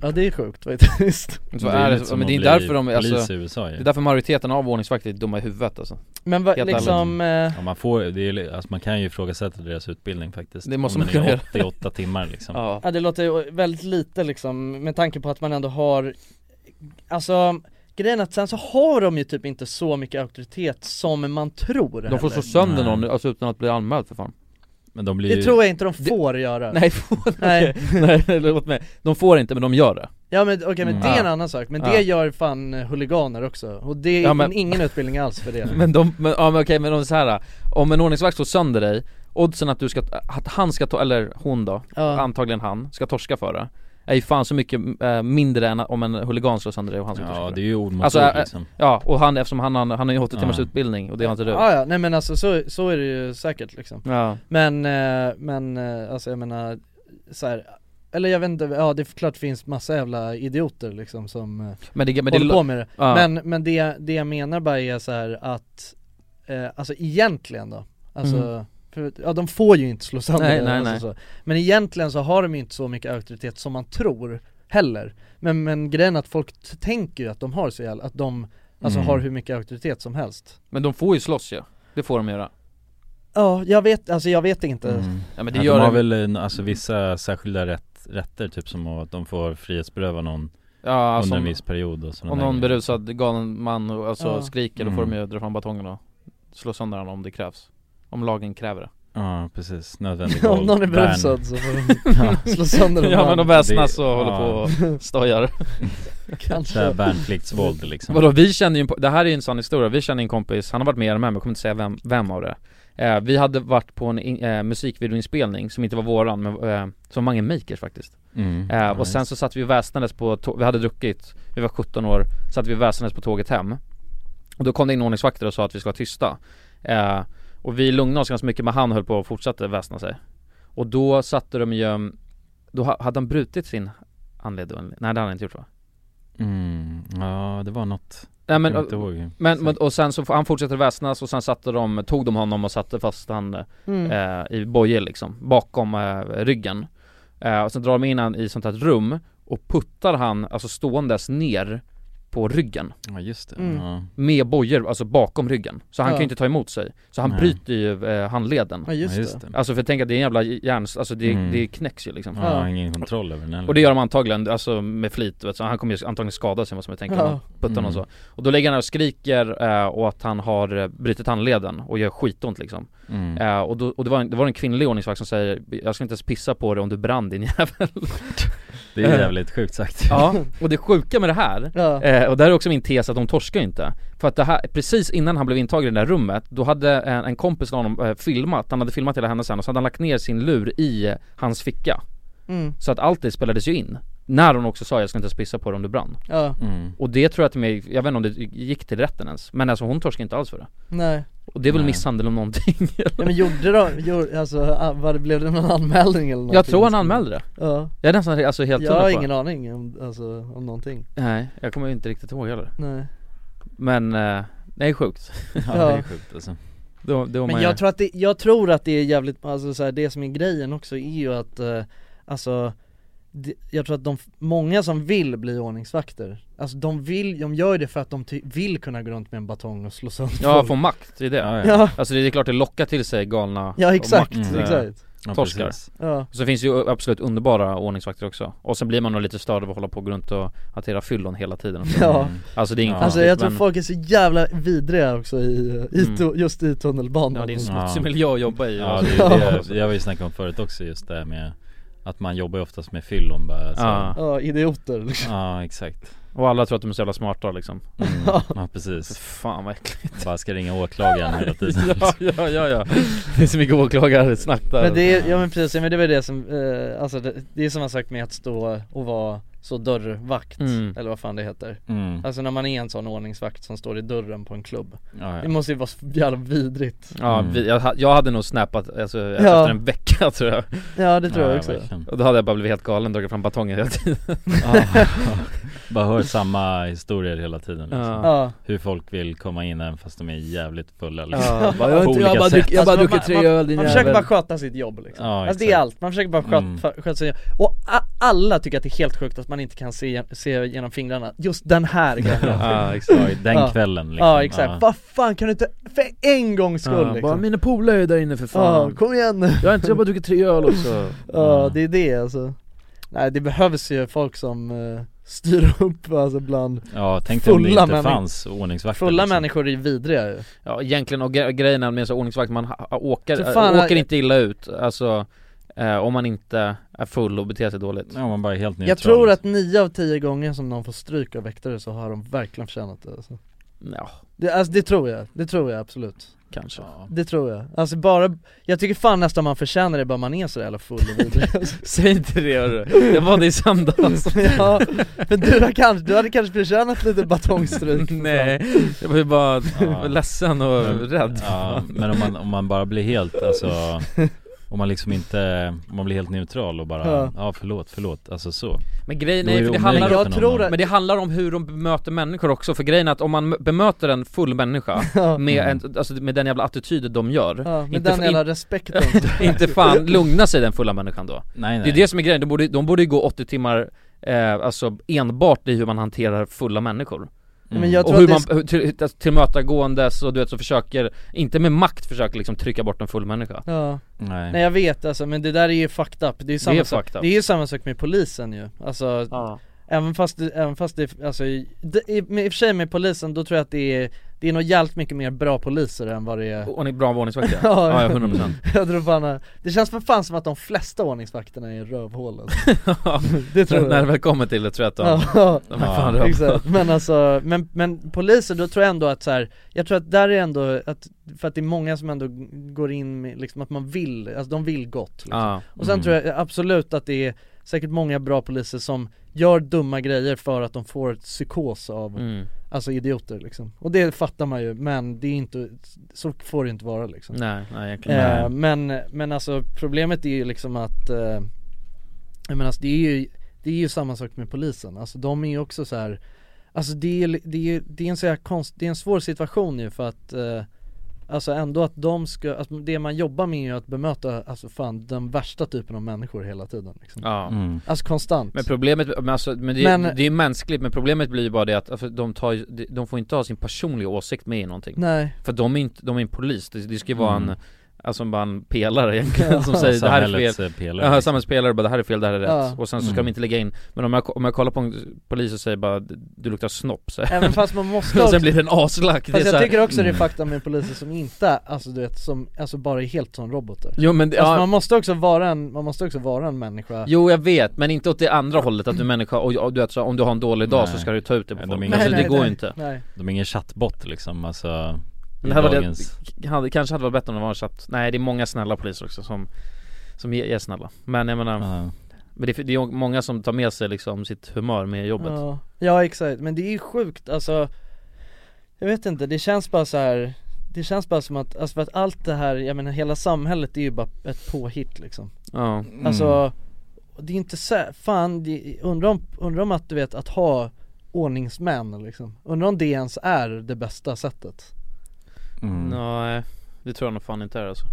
Speaker 4: Ja det är sjukt faktiskt
Speaker 7: Men Så är det, men det är
Speaker 3: att
Speaker 7: därför
Speaker 3: bli
Speaker 7: de,
Speaker 3: polis
Speaker 7: alltså,
Speaker 3: i USA ju.
Speaker 7: det är därför majoriteten av ordningsvakter är dumma i huvudet alltså
Speaker 4: Men vad,
Speaker 7: Helt
Speaker 4: liksom, eh,
Speaker 3: Ja man får, det är, alltså man kan ju ifrågasätta deras utbildning faktiskt
Speaker 7: Det måste
Speaker 3: Om
Speaker 7: man
Speaker 3: den är
Speaker 7: göra.
Speaker 3: 88 timmar liksom
Speaker 7: Ja.
Speaker 4: ja det låter ju väldigt lite liksom med tanke på att man ändå har Alltså grejen är att sen så har de ju typ inte så mycket auktoritet som man tror
Speaker 7: De får
Speaker 4: heller.
Speaker 7: slå sönder någon alltså, utan att bli anmäld för fan
Speaker 3: Men de
Speaker 4: Det tror jag inte de får göra
Speaker 7: Nej, får,
Speaker 4: Nej.
Speaker 7: nej. nej, låt mig De får inte men de gör det
Speaker 4: Ja men okej men
Speaker 7: Mm.
Speaker 4: det är en
Speaker 7: Ja.
Speaker 4: annan sak, men
Speaker 7: Ja.
Speaker 4: det gör fan eh, huliganer också och det är
Speaker 7: Ja, men-
Speaker 4: ingen utbildning alls för det
Speaker 7: Men de, men, ja men okej men de så här om en ordningsvakt slår sönder dig Oddsen att du ska, att han ska, ta, eller hon då,
Speaker 4: Ja.
Speaker 7: antagligen han, ska torska för det Är ju fan så mycket eh, mindre än om en huligan slår sönder dig och han ska
Speaker 3: Ja,
Speaker 7: torska för
Speaker 3: det är ju ord mot ord,
Speaker 7: eh,
Speaker 3: liksom.
Speaker 7: Ja, och han eftersom han, han, han har ju 80 timmars
Speaker 3: Ja.
Speaker 7: utbildning och det har inte du
Speaker 4: Ja, ja, nej men alltså så, så är det ju säkert liksom
Speaker 7: Ja.
Speaker 4: Men, eh, men eh, alltså jag menar så här. Eller jag vet inte, ja det är klart finns massa jävla idioter liksom som eh,
Speaker 7: Men det- men det
Speaker 4: håller
Speaker 7: lo-
Speaker 4: på med det
Speaker 7: Ja.
Speaker 4: Men, men det, det jag menar bara är så här att, eh, alltså egentligen då, alltså
Speaker 7: Mm.
Speaker 4: för, ja de får ju inte slå sönder
Speaker 7: Nej,
Speaker 4: det,
Speaker 7: nej,
Speaker 4: alltså,
Speaker 7: nej.
Speaker 4: Så. Men egentligen så har de ju inte så mycket auktoritet som man tror heller Men, men grejen är att folk t- tänker ju att de har så jävla, att de alltså
Speaker 7: Mm.
Speaker 4: har hur mycket auktoritet som helst
Speaker 7: Men de får ju slåss ju, det får de göra
Speaker 4: Ja, jag vet, alltså jag vet inte
Speaker 7: Ja, men eh, det
Speaker 3: Mm. Ja,
Speaker 7: gör
Speaker 3: de har
Speaker 7: det-
Speaker 3: väl eh, alltså vissa särskilda rätt, rätter typ som att de får frihetsberöva någon
Speaker 7: Ja,
Speaker 3: under
Speaker 7: som-
Speaker 3: en viss period och sådana
Speaker 7: Om
Speaker 3: där
Speaker 7: någon
Speaker 3: grejer.
Speaker 7: berusad galen man och alltså
Speaker 4: Ja.
Speaker 7: skriker, då
Speaker 3: Mm.
Speaker 7: får de ju dra fram batongen och slå sönder honom om det krävs Om lagen kräver det
Speaker 3: Ja precis, nödvändig
Speaker 4: Om någon är
Speaker 3: värn.
Speaker 4: berusad så får de slå sönder en
Speaker 7: Ja men
Speaker 4: man.
Speaker 7: de väsnas och
Speaker 3: Det-
Speaker 7: håller
Speaker 3: ja.
Speaker 7: på och stojar
Speaker 4: Kanske.
Speaker 3: Så här värnpliktsvåld liksom
Speaker 7: Vadå, vi känner ju, en po- det här är ju en sann historia, vi känner en kompis, han har varit med i RMM, jag kommer inte säga vem, vem av det eh, Vi hade varit på en in, eh, musikvideoinspelning som inte var våran, men eh, som Mange Makers faktiskt
Speaker 3: Mm,
Speaker 7: eh, Och
Speaker 3: nice.
Speaker 7: sen så satt vi och väsnades på, tå- vi hade druckit, vi var 17 år, satt vi och väsnades på tåget hem Och då kom det in ordningsvakter och sa att vi ska vara tysta eh, Och vi lugnade oss ganska mycket men han höll på och fortsatte väsna sig Och då satte de ju, mm, då ha- hade han brutit sin handled, och- nej det hade han inte gjort va?
Speaker 3: mm, Ja det var något
Speaker 7: Nej men,
Speaker 3: Jag kommer inte ihåg.
Speaker 7: men, men och sen så, han fortsätter väsnas och sen satte de, tog de honom och satte fast han eh,
Speaker 4: Mm.
Speaker 7: eh, i bojor liksom, bakom eh, ryggen eh, Och sen drar de in han i sånt här rum och puttar han, alltså ståendes ner på ryggen
Speaker 11: Ja just det,
Speaker 7: Mm.
Speaker 11: ja.
Speaker 7: Med bojor, alltså bakom ryggen Så han
Speaker 11: Ja.
Speaker 7: kan ju inte ta emot sig Så han
Speaker 11: Nej.
Speaker 7: bryter ju eh, handleden
Speaker 11: Ja, just Ja, just det.
Speaker 7: Alltså för tänk att det är en jävla hjärns... alltså det,
Speaker 11: Mm.
Speaker 7: det knäcks ju liksom
Speaker 11: Ja, han har ingen kontroll över den heller.
Speaker 7: Och det gör de antagligen, alltså med flit, vet, du. så han kommer ju antagligen skada sig vad som jag tänker,
Speaker 11: Ja.
Speaker 7: ja. puttar någon
Speaker 11: Mm.
Speaker 7: så Och då ligger han där och skriker eh, och att han har eh, brutit handleden och gör skitont liksom
Speaker 11: Mm.
Speaker 7: eh, och, då, och det, var en, det var en kvinnlig ordningsvakt som säger 'Jag ska inte ens pissa på dig om du brann din jävel'
Speaker 11: Det är jävligt sjukt sagt
Speaker 7: Ja, och det sjuka med det här,
Speaker 11: Ja.
Speaker 7: eh, och där är också min tes att de torskar ju inte För att det här, precis innan han blev intagen i det där rummet, då hade en, en kompis till honom eh, filmat, han hade filmat hela händelsen och så hade han lagt ner sin lur i eh, hans ficka
Speaker 4: Mm.
Speaker 7: Så att allt det spelades ju in När hon också sa 'Jag ska inte ens pissa på dig om du brann'
Speaker 4: Ja.
Speaker 11: Mm.
Speaker 7: Och det tror jag att de, jag vet inte om det gick till rätten ens, men alltså hon torskar inte alls för det
Speaker 4: Nej.
Speaker 7: Och det är väl
Speaker 4: Nej.
Speaker 7: misshandel om någonting
Speaker 4: Ja men gjorde de, gjorde, alltså, ah, vad, blev det någon anmälning eller någonting?
Speaker 7: Jag tror han anmälde det
Speaker 4: Ja
Speaker 7: Jag är nästan alltså helt
Speaker 4: Jag har
Speaker 7: hundra på det.
Speaker 4: ingen aning om, alltså, om någonting
Speaker 7: Nej, jag kommer inte riktigt ihåg heller
Speaker 4: Nej.
Speaker 7: Men, eh, det är sjukt
Speaker 4: Ja, det är
Speaker 11: sjukt alltså
Speaker 7: då, då
Speaker 4: Men jag tror att det, jag tror att det är jävligt, alltså så här, det som är grejen också är ju att, eh, alltså det, jag tror att de, f- många som vill bli ordningsvakter, alltså de vill, de gör det för att de ty- vill kunna gå runt med en batong och slå sönder
Speaker 7: Ja,
Speaker 4: folk.
Speaker 7: få makt, det är det.
Speaker 4: ja. Ja.
Speaker 7: Alltså det är klart det lockar till sig galna
Speaker 4: Ja,
Speaker 7: och
Speaker 4: exakt,
Speaker 7: makt,
Speaker 4: Mm. exakt.
Speaker 7: eh,
Speaker 4: Ja,
Speaker 7: Torskar.
Speaker 4: precis. Ja.
Speaker 7: Så finns det ju absolut underbara ordningsvakter också. Och sen blir man nog lite störd av att hålla på och gå runt och hantera fyllon hela tiden.
Speaker 4: Ja
Speaker 7: Alltså det är inget
Speaker 4: Alltså
Speaker 7: konstigt,
Speaker 4: jag tror
Speaker 7: men-
Speaker 4: folk är så jävla vidriga också i, i
Speaker 7: Mm.
Speaker 4: to, just i tunnelbanan
Speaker 7: Ja, det är en smutsig miljö att jobba i.
Speaker 11: Ja det, är det jag var ju snackat om förut också just det här med Att man jobbar ju oftast med fyllon bara så.
Speaker 7: Ja.
Speaker 4: Ja, idioter liksom.
Speaker 11: Ja exakt
Speaker 7: Och alla tror att de är så jävla smarta liksom
Speaker 11: mm. Ja precis
Speaker 7: Fan vad äckligt
Speaker 11: Bara ska ringa åklagaren hela tiden
Speaker 7: Ja, ja, ja, ja. Det är så mycket åklagarsnack där
Speaker 4: Men det är, ja men precis, men det var det som, eh, alltså det, det är samma sak med att stå och vara så dörrvakt,
Speaker 7: Mm.
Speaker 4: eller vad fan det heter
Speaker 7: Mm.
Speaker 4: Alltså när man är en sån ordningsvakt som står i dörren på en klubb
Speaker 7: Ja, ja.
Speaker 4: Det måste ju vara så jävla vidrigt
Speaker 7: Ja, vi, jag, ha- jag hade nog snappat alltså, efter
Speaker 4: Ja.
Speaker 7: en vecka tror jag
Speaker 4: Ja, det tror jag Ja, också. verkligen.
Speaker 7: Och då hade jag bara blivit helt galen, dragit fram batongen hela tiden
Speaker 11: Bara hör samma historier hela tiden liksom.
Speaker 7: Ja.
Speaker 4: Ja.
Speaker 11: Hur folk vill komma in även fast de är jävligt fulla liksom.
Speaker 7: Ja, bara,
Speaker 11: På
Speaker 7: jag har inte-
Speaker 11: olika
Speaker 7: jag har bara
Speaker 11: sätt.
Speaker 7: druckit- jag har bara
Speaker 4: Alltså,
Speaker 7: druckit tre
Speaker 4: man,
Speaker 7: öl,
Speaker 4: man,
Speaker 7: din
Speaker 4: man försöker
Speaker 7: jävel.
Speaker 4: bara sköta sitt jobb liksom
Speaker 11: Ja,
Speaker 4: Alltså det är
Speaker 11: exakt.
Speaker 4: allt, man försöker bara sköta,
Speaker 11: Mm.
Speaker 4: sköta sitt jobb Och a- alla tycker att det är helt sjukt att man inte kan se, se genom fingrarna just den här gången
Speaker 11: Ja, exakt. Oj, den kvällen, liksom.
Speaker 4: Ja exakt,
Speaker 11: Ja.
Speaker 4: vad fan kan du inte, för en gångs skull
Speaker 7: Ja,
Speaker 4: liksom
Speaker 7: bara, mina polare är där inne för
Speaker 4: Ja,
Speaker 7: fan
Speaker 4: kom igen nu
Speaker 7: Jag har inte jag har bara druckit tre öl också
Speaker 4: Ja det är det alltså Nej det behövs ju folk som eh, styr upp alltså bland
Speaker 11: Ja, tänk dig om det
Speaker 4: fulla
Speaker 11: inte
Speaker 4: människ-
Speaker 11: fanns ordningsvakter,
Speaker 4: Fulla
Speaker 11: liksom.
Speaker 4: människor är ju vidriga ju
Speaker 7: Ja egentligen, och gre- grejen är med så ordningsvakt, man ha- åker,
Speaker 4: Så fan,
Speaker 7: äh, åker
Speaker 4: jag-
Speaker 7: inte illa ut, alltså eh, om man inte är full och beter sig dåligt
Speaker 11: Ja man bara är helt
Speaker 4: Jag tror att nio av tio gånger som någon får stryk av väktare så har de verkligen förtjänat det alltså.
Speaker 7: Ja.
Speaker 4: det, alltså, det tror jag, det tror jag absolut
Speaker 7: Kanske
Speaker 4: Det tror jag, alltså bara, jag tycker fan nästan man förtjänar det bara man är så jävla full och vidrig alltså.
Speaker 7: Säg inte det hörru, jag var det i söndags
Speaker 4: Ja, men du, har kanske, du hade kanske förtjänat lite batongstryk liksom.
Speaker 7: Nej, jag var ju bara ledsen och rädd
Speaker 11: Ja, men om man, om man bara blir helt alltså Om man liksom inte, om man blir helt neutral och bara
Speaker 7: Ja.
Speaker 11: ja, förlåt, förlåt, alltså så
Speaker 7: Men grejen
Speaker 11: Då
Speaker 7: är,
Speaker 11: det
Speaker 7: för det
Speaker 11: omöjligt
Speaker 7: handlar
Speaker 11: för
Speaker 7: om,
Speaker 11: någon
Speaker 7: men det handlar om hur de bemöter människor också, för grejen är att om man bemöter en full människa med, en, alltså, med den jävla attityden de gör
Speaker 4: Ja, med
Speaker 7: inte-
Speaker 4: den jävla
Speaker 7: in-
Speaker 4: respekten
Speaker 7: Inte fan lugna sig den fulla människan då
Speaker 11: Nej,
Speaker 7: Det
Speaker 11: nej.
Speaker 7: är det som är grejen, de borde, de borde ju gå 80 timmar Eh, alltså enbart i hur man hanterar fulla människor
Speaker 4: Mm. Men jag
Speaker 7: Och
Speaker 4: tror
Speaker 7: hur man,
Speaker 4: att
Speaker 7: hur- till, alltså, tillmötagåendes och du vet så försöker, inte med makt försöker liksom trycka bort en full människa
Speaker 4: Ja.
Speaker 11: Nej.
Speaker 4: Nej jag vet alltså, men det där är ju fucked up Det är ju samma,
Speaker 7: Det är
Speaker 4: sak,
Speaker 7: fucked up.
Speaker 4: det är ju samma sak med polisen ju, alltså Även fast, det- även fast det, alltså, i- det, i, med, i och för sig med polisen, då tror jag att det är Det är nog jävligt mycket mer bra poliser än vad det är
Speaker 7: Och ni bra ordningsvakter? ja, ja 100%
Speaker 4: Jag tror fan, det känns för fan som att de flesta ordningsvakterna är rövhål alltså. Det tror jag
Speaker 7: När det väl kommer till det tror jag att de,
Speaker 4: Ja,
Speaker 7: de är fan rövhål
Speaker 4: exakt. Men alltså, men, men poliser då tror jag ändå att så här, jag tror att där är ändå att, för att det är många som ändå g- går in med liksom att man vill, alltså de vill gott liksom.
Speaker 7: Ja.
Speaker 4: Och sen
Speaker 7: Mm.
Speaker 4: tror jag absolut att det är säkert många bra poliser som gör dumma grejer för att de får ett psykos av
Speaker 7: Mm.
Speaker 4: Alltså idioter liksom. Och det fattar man ju, men det är inte, så får det inte vara liksom
Speaker 7: Nej, nej, jag kan-
Speaker 4: eh,
Speaker 7: Nej.
Speaker 4: Men, men alltså problemet är ju liksom att eh, Jag menar alltså, det är ju, det är ju samma sak med polisen, alltså de är ju också så här Alltså det är, det är, det är en så här konst, det är en svår situation ju för att eh, Alltså ändå att de ska, alltså det man jobbar med är ju att bemöta, alltså fan den värsta typen av människor hela tiden liksom.
Speaker 7: Ja. Mm.
Speaker 4: Alltså konstant
Speaker 7: Men problemet, men alltså, men det,
Speaker 4: Men-
Speaker 7: det är ju mänskligt, men problemet blir ju bara det att alltså, de, tar, ju- de- de får inte ha sin personliga åsikt med i någonting
Speaker 4: Nej.
Speaker 7: För de är inte, de är en polis, det, det ska ju vara
Speaker 11: Mm.
Speaker 7: en Alltså bara en pelare egentligen
Speaker 11: Ja.
Speaker 7: som säger det här är
Speaker 11: Samhällets,
Speaker 7: fel
Speaker 11: eh, pelare.
Speaker 7: Ja, samhällspelare bara det här är fel, det här är rätt
Speaker 4: Ja.
Speaker 7: Och sen så ska
Speaker 4: Mm.
Speaker 7: de inte lägga in Men om jag, om jag kollar på en polis och säger bara du luktar snopp så
Speaker 4: Även fast man måste
Speaker 7: Och sen
Speaker 4: också-
Speaker 7: blir det en aslack
Speaker 4: Fast
Speaker 7: så
Speaker 4: jag
Speaker 7: här-
Speaker 4: tycker också det är
Speaker 7: Mm.
Speaker 4: fakta med poliser som inte, alltså du vet, som, alltså bara är helt som robotar
Speaker 7: Jo, men det-
Speaker 4: alltså,
Speaker 7: ja.
Speaker 4: man måste också vara en, man måste också vara en människa
Speaker 7: Jo jag vet, men inte åt det andra hållet att du är människa och, och du vet så, om du har en dålig dag så ska du ta ut det på folk.
Speaker 4: inga- Nej,
Speaker 7: alltså, det
Speaker 4: nej,
Speaker 7: går
Speaker 4: nej.
Speaker 7: ju inte
Speaker 4: Nej.
Speaker 11: De är ingen chattbot liksom, alltså i
Speaker 7: Det, här var det,
Speaker 11: dagens-
Speaker 7: hade, kanske hade varit bättre om det var en chatt, nej det är många snälla poliser också som, som är är snälla Men jag menar, men det, är- det är många som tar med sig liksom sitt humör med jobbet
Speaker 4: Ja, ja exakt, men det är ju sjukt alltså Jag vet inte, det känns bara så här. Det känns bara som att, alltså för att allt det här, jag menar hela samhället är ju bara ett påhitt liksom
Speaker 7: Ja. Mm.
Speaker 4: Alltså Det är inte så, fan, det, undrar om, undrar om att du vet, att ha ordningsmän liksom Undrar om det ens är det bästa sättet
Speaker 7: Nej, det tror jag nog fan inte är alltså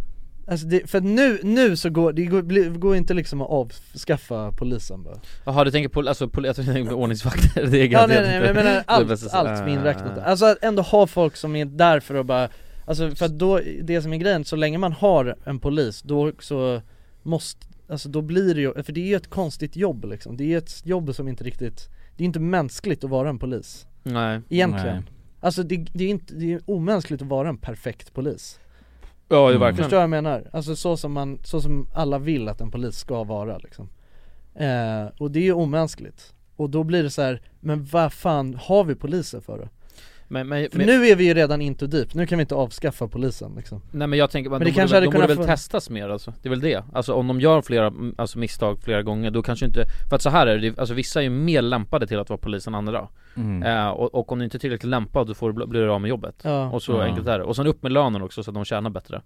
Speaker 4: Alltså det, för att nu, nu så går, det går, blir- går inte liksom att avskaffa polisen bara
Speaker 7: Jaha du tänker på, alltså, på, jag tror du tänker på ordningsvakter, det är
Speaker 4: Ja
Speaker 7: garanterat
Speaker 4: nej nej men jag
Speaker 7: inte-
Speaker 4: menar
Speaker 7: det
Speaker 4: allt,
Speaker 7: bästa-
Speaker 4: allt inräknat
Speaker 7: Ah.
Speaker 4: Alltså att ändå ha folk som är där för att bara Alltså för att då, det som är grejen, så länge man har en polis då så måste, alltså då blir det ju, för det är ju ett konstigt jobb liksom Det är ju ett jobb som inte riktigt, det är inte mänskligt att vara en polis
Speaker 7: Nej.
Speaker 4: Egentligen
Speaker 7: Nej.
Speaker 4: Alltså det, det är inte, det är omänskligt att vara en perfekt polis
Speaker 7: Ja, det är verkligen.
Speaker 4: Förstår vad jag menar? Alltså så som man, så som alla vill att en polis ska vara liksom eh, Och det är ju omänskligt Och då blir det så här, men vad fan har vi poliser för då?
Speaker 7: Men, men,
Speaker 4: för
Speaker 7: men-
Speaker 4: nu är vi ju redan into deep, nu kan vi inte avskaffa polisen liksom
Speaker 7: Nej men jag tänker, men
Speaker 4: Men
Speaker 7: de,
Speaker 4: det kanske
Speaker 7: borde,
Speaker 4: hade
Speaker 7: väl- de borde
Speaker 4: kunnat
Speaker 7: väl
Speaker 4: få-
Speaker 7: testas mer alltså? Det är väl det? Alltså om de gör flera mm, alltså, misstag flera gånger då kanske inte, för att så här är det, det- alltså vissa är ju mer lämpade till att vara polis än andra
Speaker 11: Mm.
Speaker 7: eh, och, och om du inte är tillräckligt lämpad då får du, bli- blir du av med jobbet
Speaker 11: Ja.
Speaker 7: Och så
Speaker 11: Ja.
Speaker 7: enkelt är det, och sen upp med lönen också så att de tjänar bättre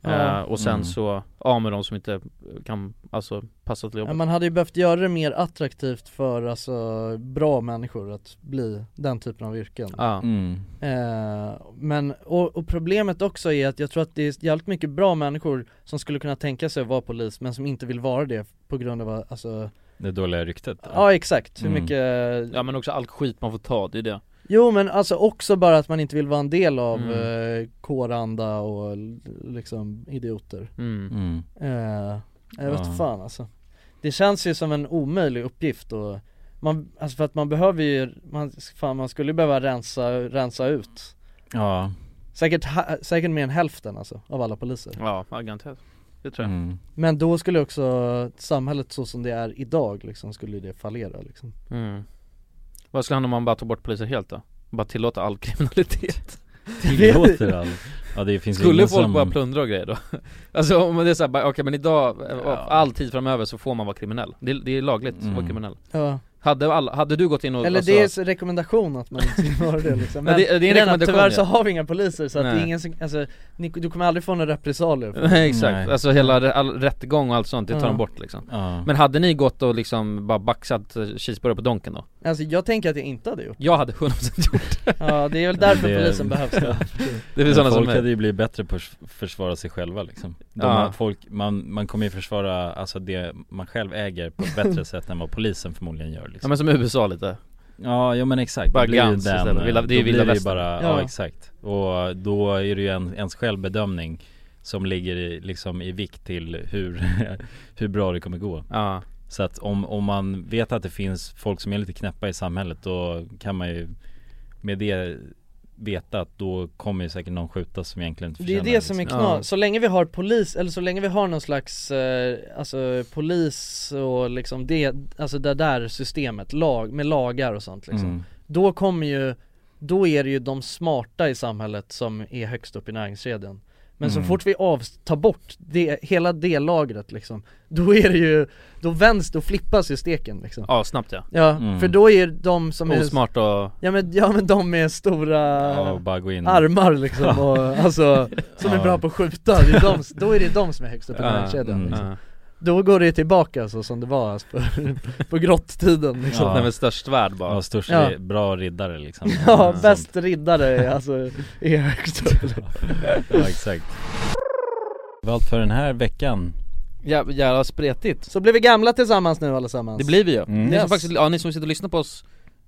Speaker 4: Ja.
Speaker 7: eh, Och sen
Speaker 4: Mm.
Speaker 7: så, av med de som inte kan, alltså passa till
Speaker 4: Ja,
Speaker 7: jobbet
Speaker 4: Man hade ju behövt göra det mer attraktivt för alltså bra människor att bli den typen av yrken
Speaker 7: Ja. Mm.
Speaker 4: eh, Men, och, och problemet också är att jag tror att det är jävligt mycket bra människor som skulle kunna tänka sig att vara polis men som inte vill vara det på grund av alltså
Speaker 11: det dåliga ryktet
Speaker 4: Ja exakt, hur
Speaker 7: Mm.
Speaker 4: mycket
Speaker 7: Ja men också allt skit man får ta, det är det
Speaker 4: Jo men alltså också bara att man inte vill vara en del av
Speaker 7: Mm.
Speaker 4: eh, kåranda och l- liksom idioter
Speaker 7: Mm.
Speaker 11: Mm.
Speaker 4: eh, Jag vet
Speaker 7: Ja.
Speaker 4: fan alltså Det känns ju som en omöjlig uppgift och man, alltså för att man behöver ju, man, fan man skulle ju behöva rensa, rensa ut
Speaker 11: Ja
Speaker 4: Säkert, ha, säkert mer än hälften alltså, av alla poliser
Speaker 7: Ja, garanterat Det tror jag
Speaker 11: Mm.
Speaker 4: Men då skulle också samhället så som det är idag liksom, skulle ju det fallera liksom
Speaker 7: Mm. Vad skulle hända om man bara tog bort poliser helt då? Bara tillåta all kriminalitet?
Speaker 11: Tillåter all- Ja, det finns ju
Speaker 7: Skulle
Speaker 11: ingen
Speaker 7: folk
Speaker 11: som-
Speaker 7: bara plundra och grejer då? Alltså om det är såhär, okej men idag, ja. all tid framöver så får man vara kriminell Det, det är lagligt att
Speaker 11: Mm.
Speaker 7: vara kriminell
Speaker 4: Ja.
Speaker 7: hade, alla, hade du gått in och
Speaker 4: Eller
Speaker 7: alltså,
Speaker 4: det är en rekommendation att man inte ska göra det liksom.
Speaker 7: Men
Speaker 4: Men
Speaker 7: det- det är en
Speaker 4: grejen är att
Speaker 7: rekommendation,
Speaker 4: tyvärr
Speaker 7: ja.
Speaker 4: så har vi inga poliser så att det
Speaker 7: Nej.
Speaker 4: är ingen som, alltså, ni, du kommer aldrig få några repressalier för det.
Speaker 7: Nej exakt, alltså hela re- all rättegång och allt sånt, det tar
Speaker 4: Ja.
Speaker 7: de bort liksom
Speaker 11: Ja.
Speaker 7: Men hade ni gått och liksom bara baxat eh, cheeseburgare på Donken då?
Speaker 4: Alltså jag tänker att jag inte hade gjort
Speaker 7: Jag hade 100% gjort det
Speaker 4: Ja det är väl därför
Speaker 11: Men det-
Speaker 4: polisen behövs då.
Speaker 7: Det är väl
Speaker 11: Men
Speaker 7: sådana som
Speaker 11: Folk
Speaker 7: mig.
Speaker 11: hade ju blivit bättre på att försvara sig själva liksom De
Speaker 7: Ja.
Speaker 11: har, folk, man, man kommer ju försvara alltså det man själv äger på ett bättre sätt än vad polisen förmodligen gör liksom.
Speaker 7: Ja men som USA lite
Speaker 11: Ja, jo men exakt
Speaker 7: Bara
Speaker 11: Det blir ju
Speaker 7: Gans
Speaker 11: den- eh,
Speaker 7: istället. Vilda- det är
Speaker 11: då
Speaker 7: ju
Speaker 11: blir
Speaker 7: vilda
Speaker 11: det ju
Speaker 7: västern.
Speaker 11: bara, ja.
Speaker 7: Ja.
Speaker 11: exakt Och då är det ju en, ens självbedömning Som ligger i, liksom i vikt till hur, hur bra det kommer gå
Speaker 7: ja.
Speaker 11: Så att om, om man vet att det finns folk som är lite knäppa i samhället Då kan man ju med det veta att då kommer ju säkert någon skjutas som egentligen inte
Speaker 4: Det är
Speaker 11: förtjänar
Speaker 4: det som är
Speaker 11: liksom.
Speaker 4: knas, så länge vi har polis, eller så länge vi har någon slags, eh, alltså polis och liksom det, alltså det där systemet, lag, med lagar och sånt liksom
Speaker 11: Mm.
Speaker 4: Då kommer ju, då är det ju de smarta i samhället som är högst upp i näringskedjan Men så
Speaker 11: Mm.
Speaker 4: fort vi av, tar bort det, hela det lagret liksom, då är det ju, då vänds, då flippas ju steken liksom
Speaker 7: Ja, snabbt ja
Speaker 4: Ja, för då är de som är
Speaker 7: Osmart och
Speaker 4: Ja men, ja men de med stora
Speaker 7: Ja, och bara gå in.
Speaker 4: armar liksom
Speaker 7: Ja.
Speaker 4: och alltså, som
Speaker 7: Ja.
Speaker 4: är bra på att skjuta, det är de, då är det de som är högst upp i
Speaker 7: Ja,
Speaker 4: näringskedjan
Speaker 7: mm,
Speaker 4: liksom.
Speaker 7: ja.
Speaker 4: Då går det ju tillbaka så som det var alltså, på, på grottiden liksom.
Speaker 3: Ja.
Speaker 4: Ja,
Speaker 3: Nej,
Speaker 7: men störst svärd bara
Speaker 3: Ja, störst
Speaker 4: Ja.
Speaker 3: ri- bra riddare liksom Sånt.
Speaker 4: bäst riddare är alltså är högst upp.
Speaker 3: Ja exakt Vad allt för den här veckan
Speaker 11: Mm.
Speaker 7: Jä, jävla spretigt
Speaker 4: Så blir vi gamla tillsammans nu allesammans
Speaker 7: Det blir vi ju.
Speaker 3: Mm.
Speaker 7: Ni som
Speaker 4: Yes.
Speaker 7: faktiskt, ja ni som sitter och lyssnar på oss,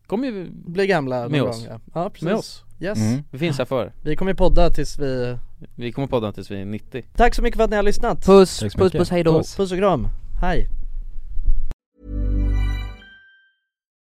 Speaker 7: kommer ju
Speaker 4: bli gamla någon
Speaker 7: med
Speaker 4: gång,
Speaker 7: oss.
Speaker 4: ja. Ja, precis.
Speaker 7: Med oss. Mm.
Speaker 4: Yes.
Speaker 7: Vi finns här för er.
Speaker 4: Vi kommer podda tills vi
Speaker 7: Vi kommer podda tills vi är 90.
Speaker 4: Tack så mycket för att ni har lyssnat
Speaker 7: Puss, Tack så puss, mycket. puss, hej då.
Speaker 4: Puss, puss och kram, hej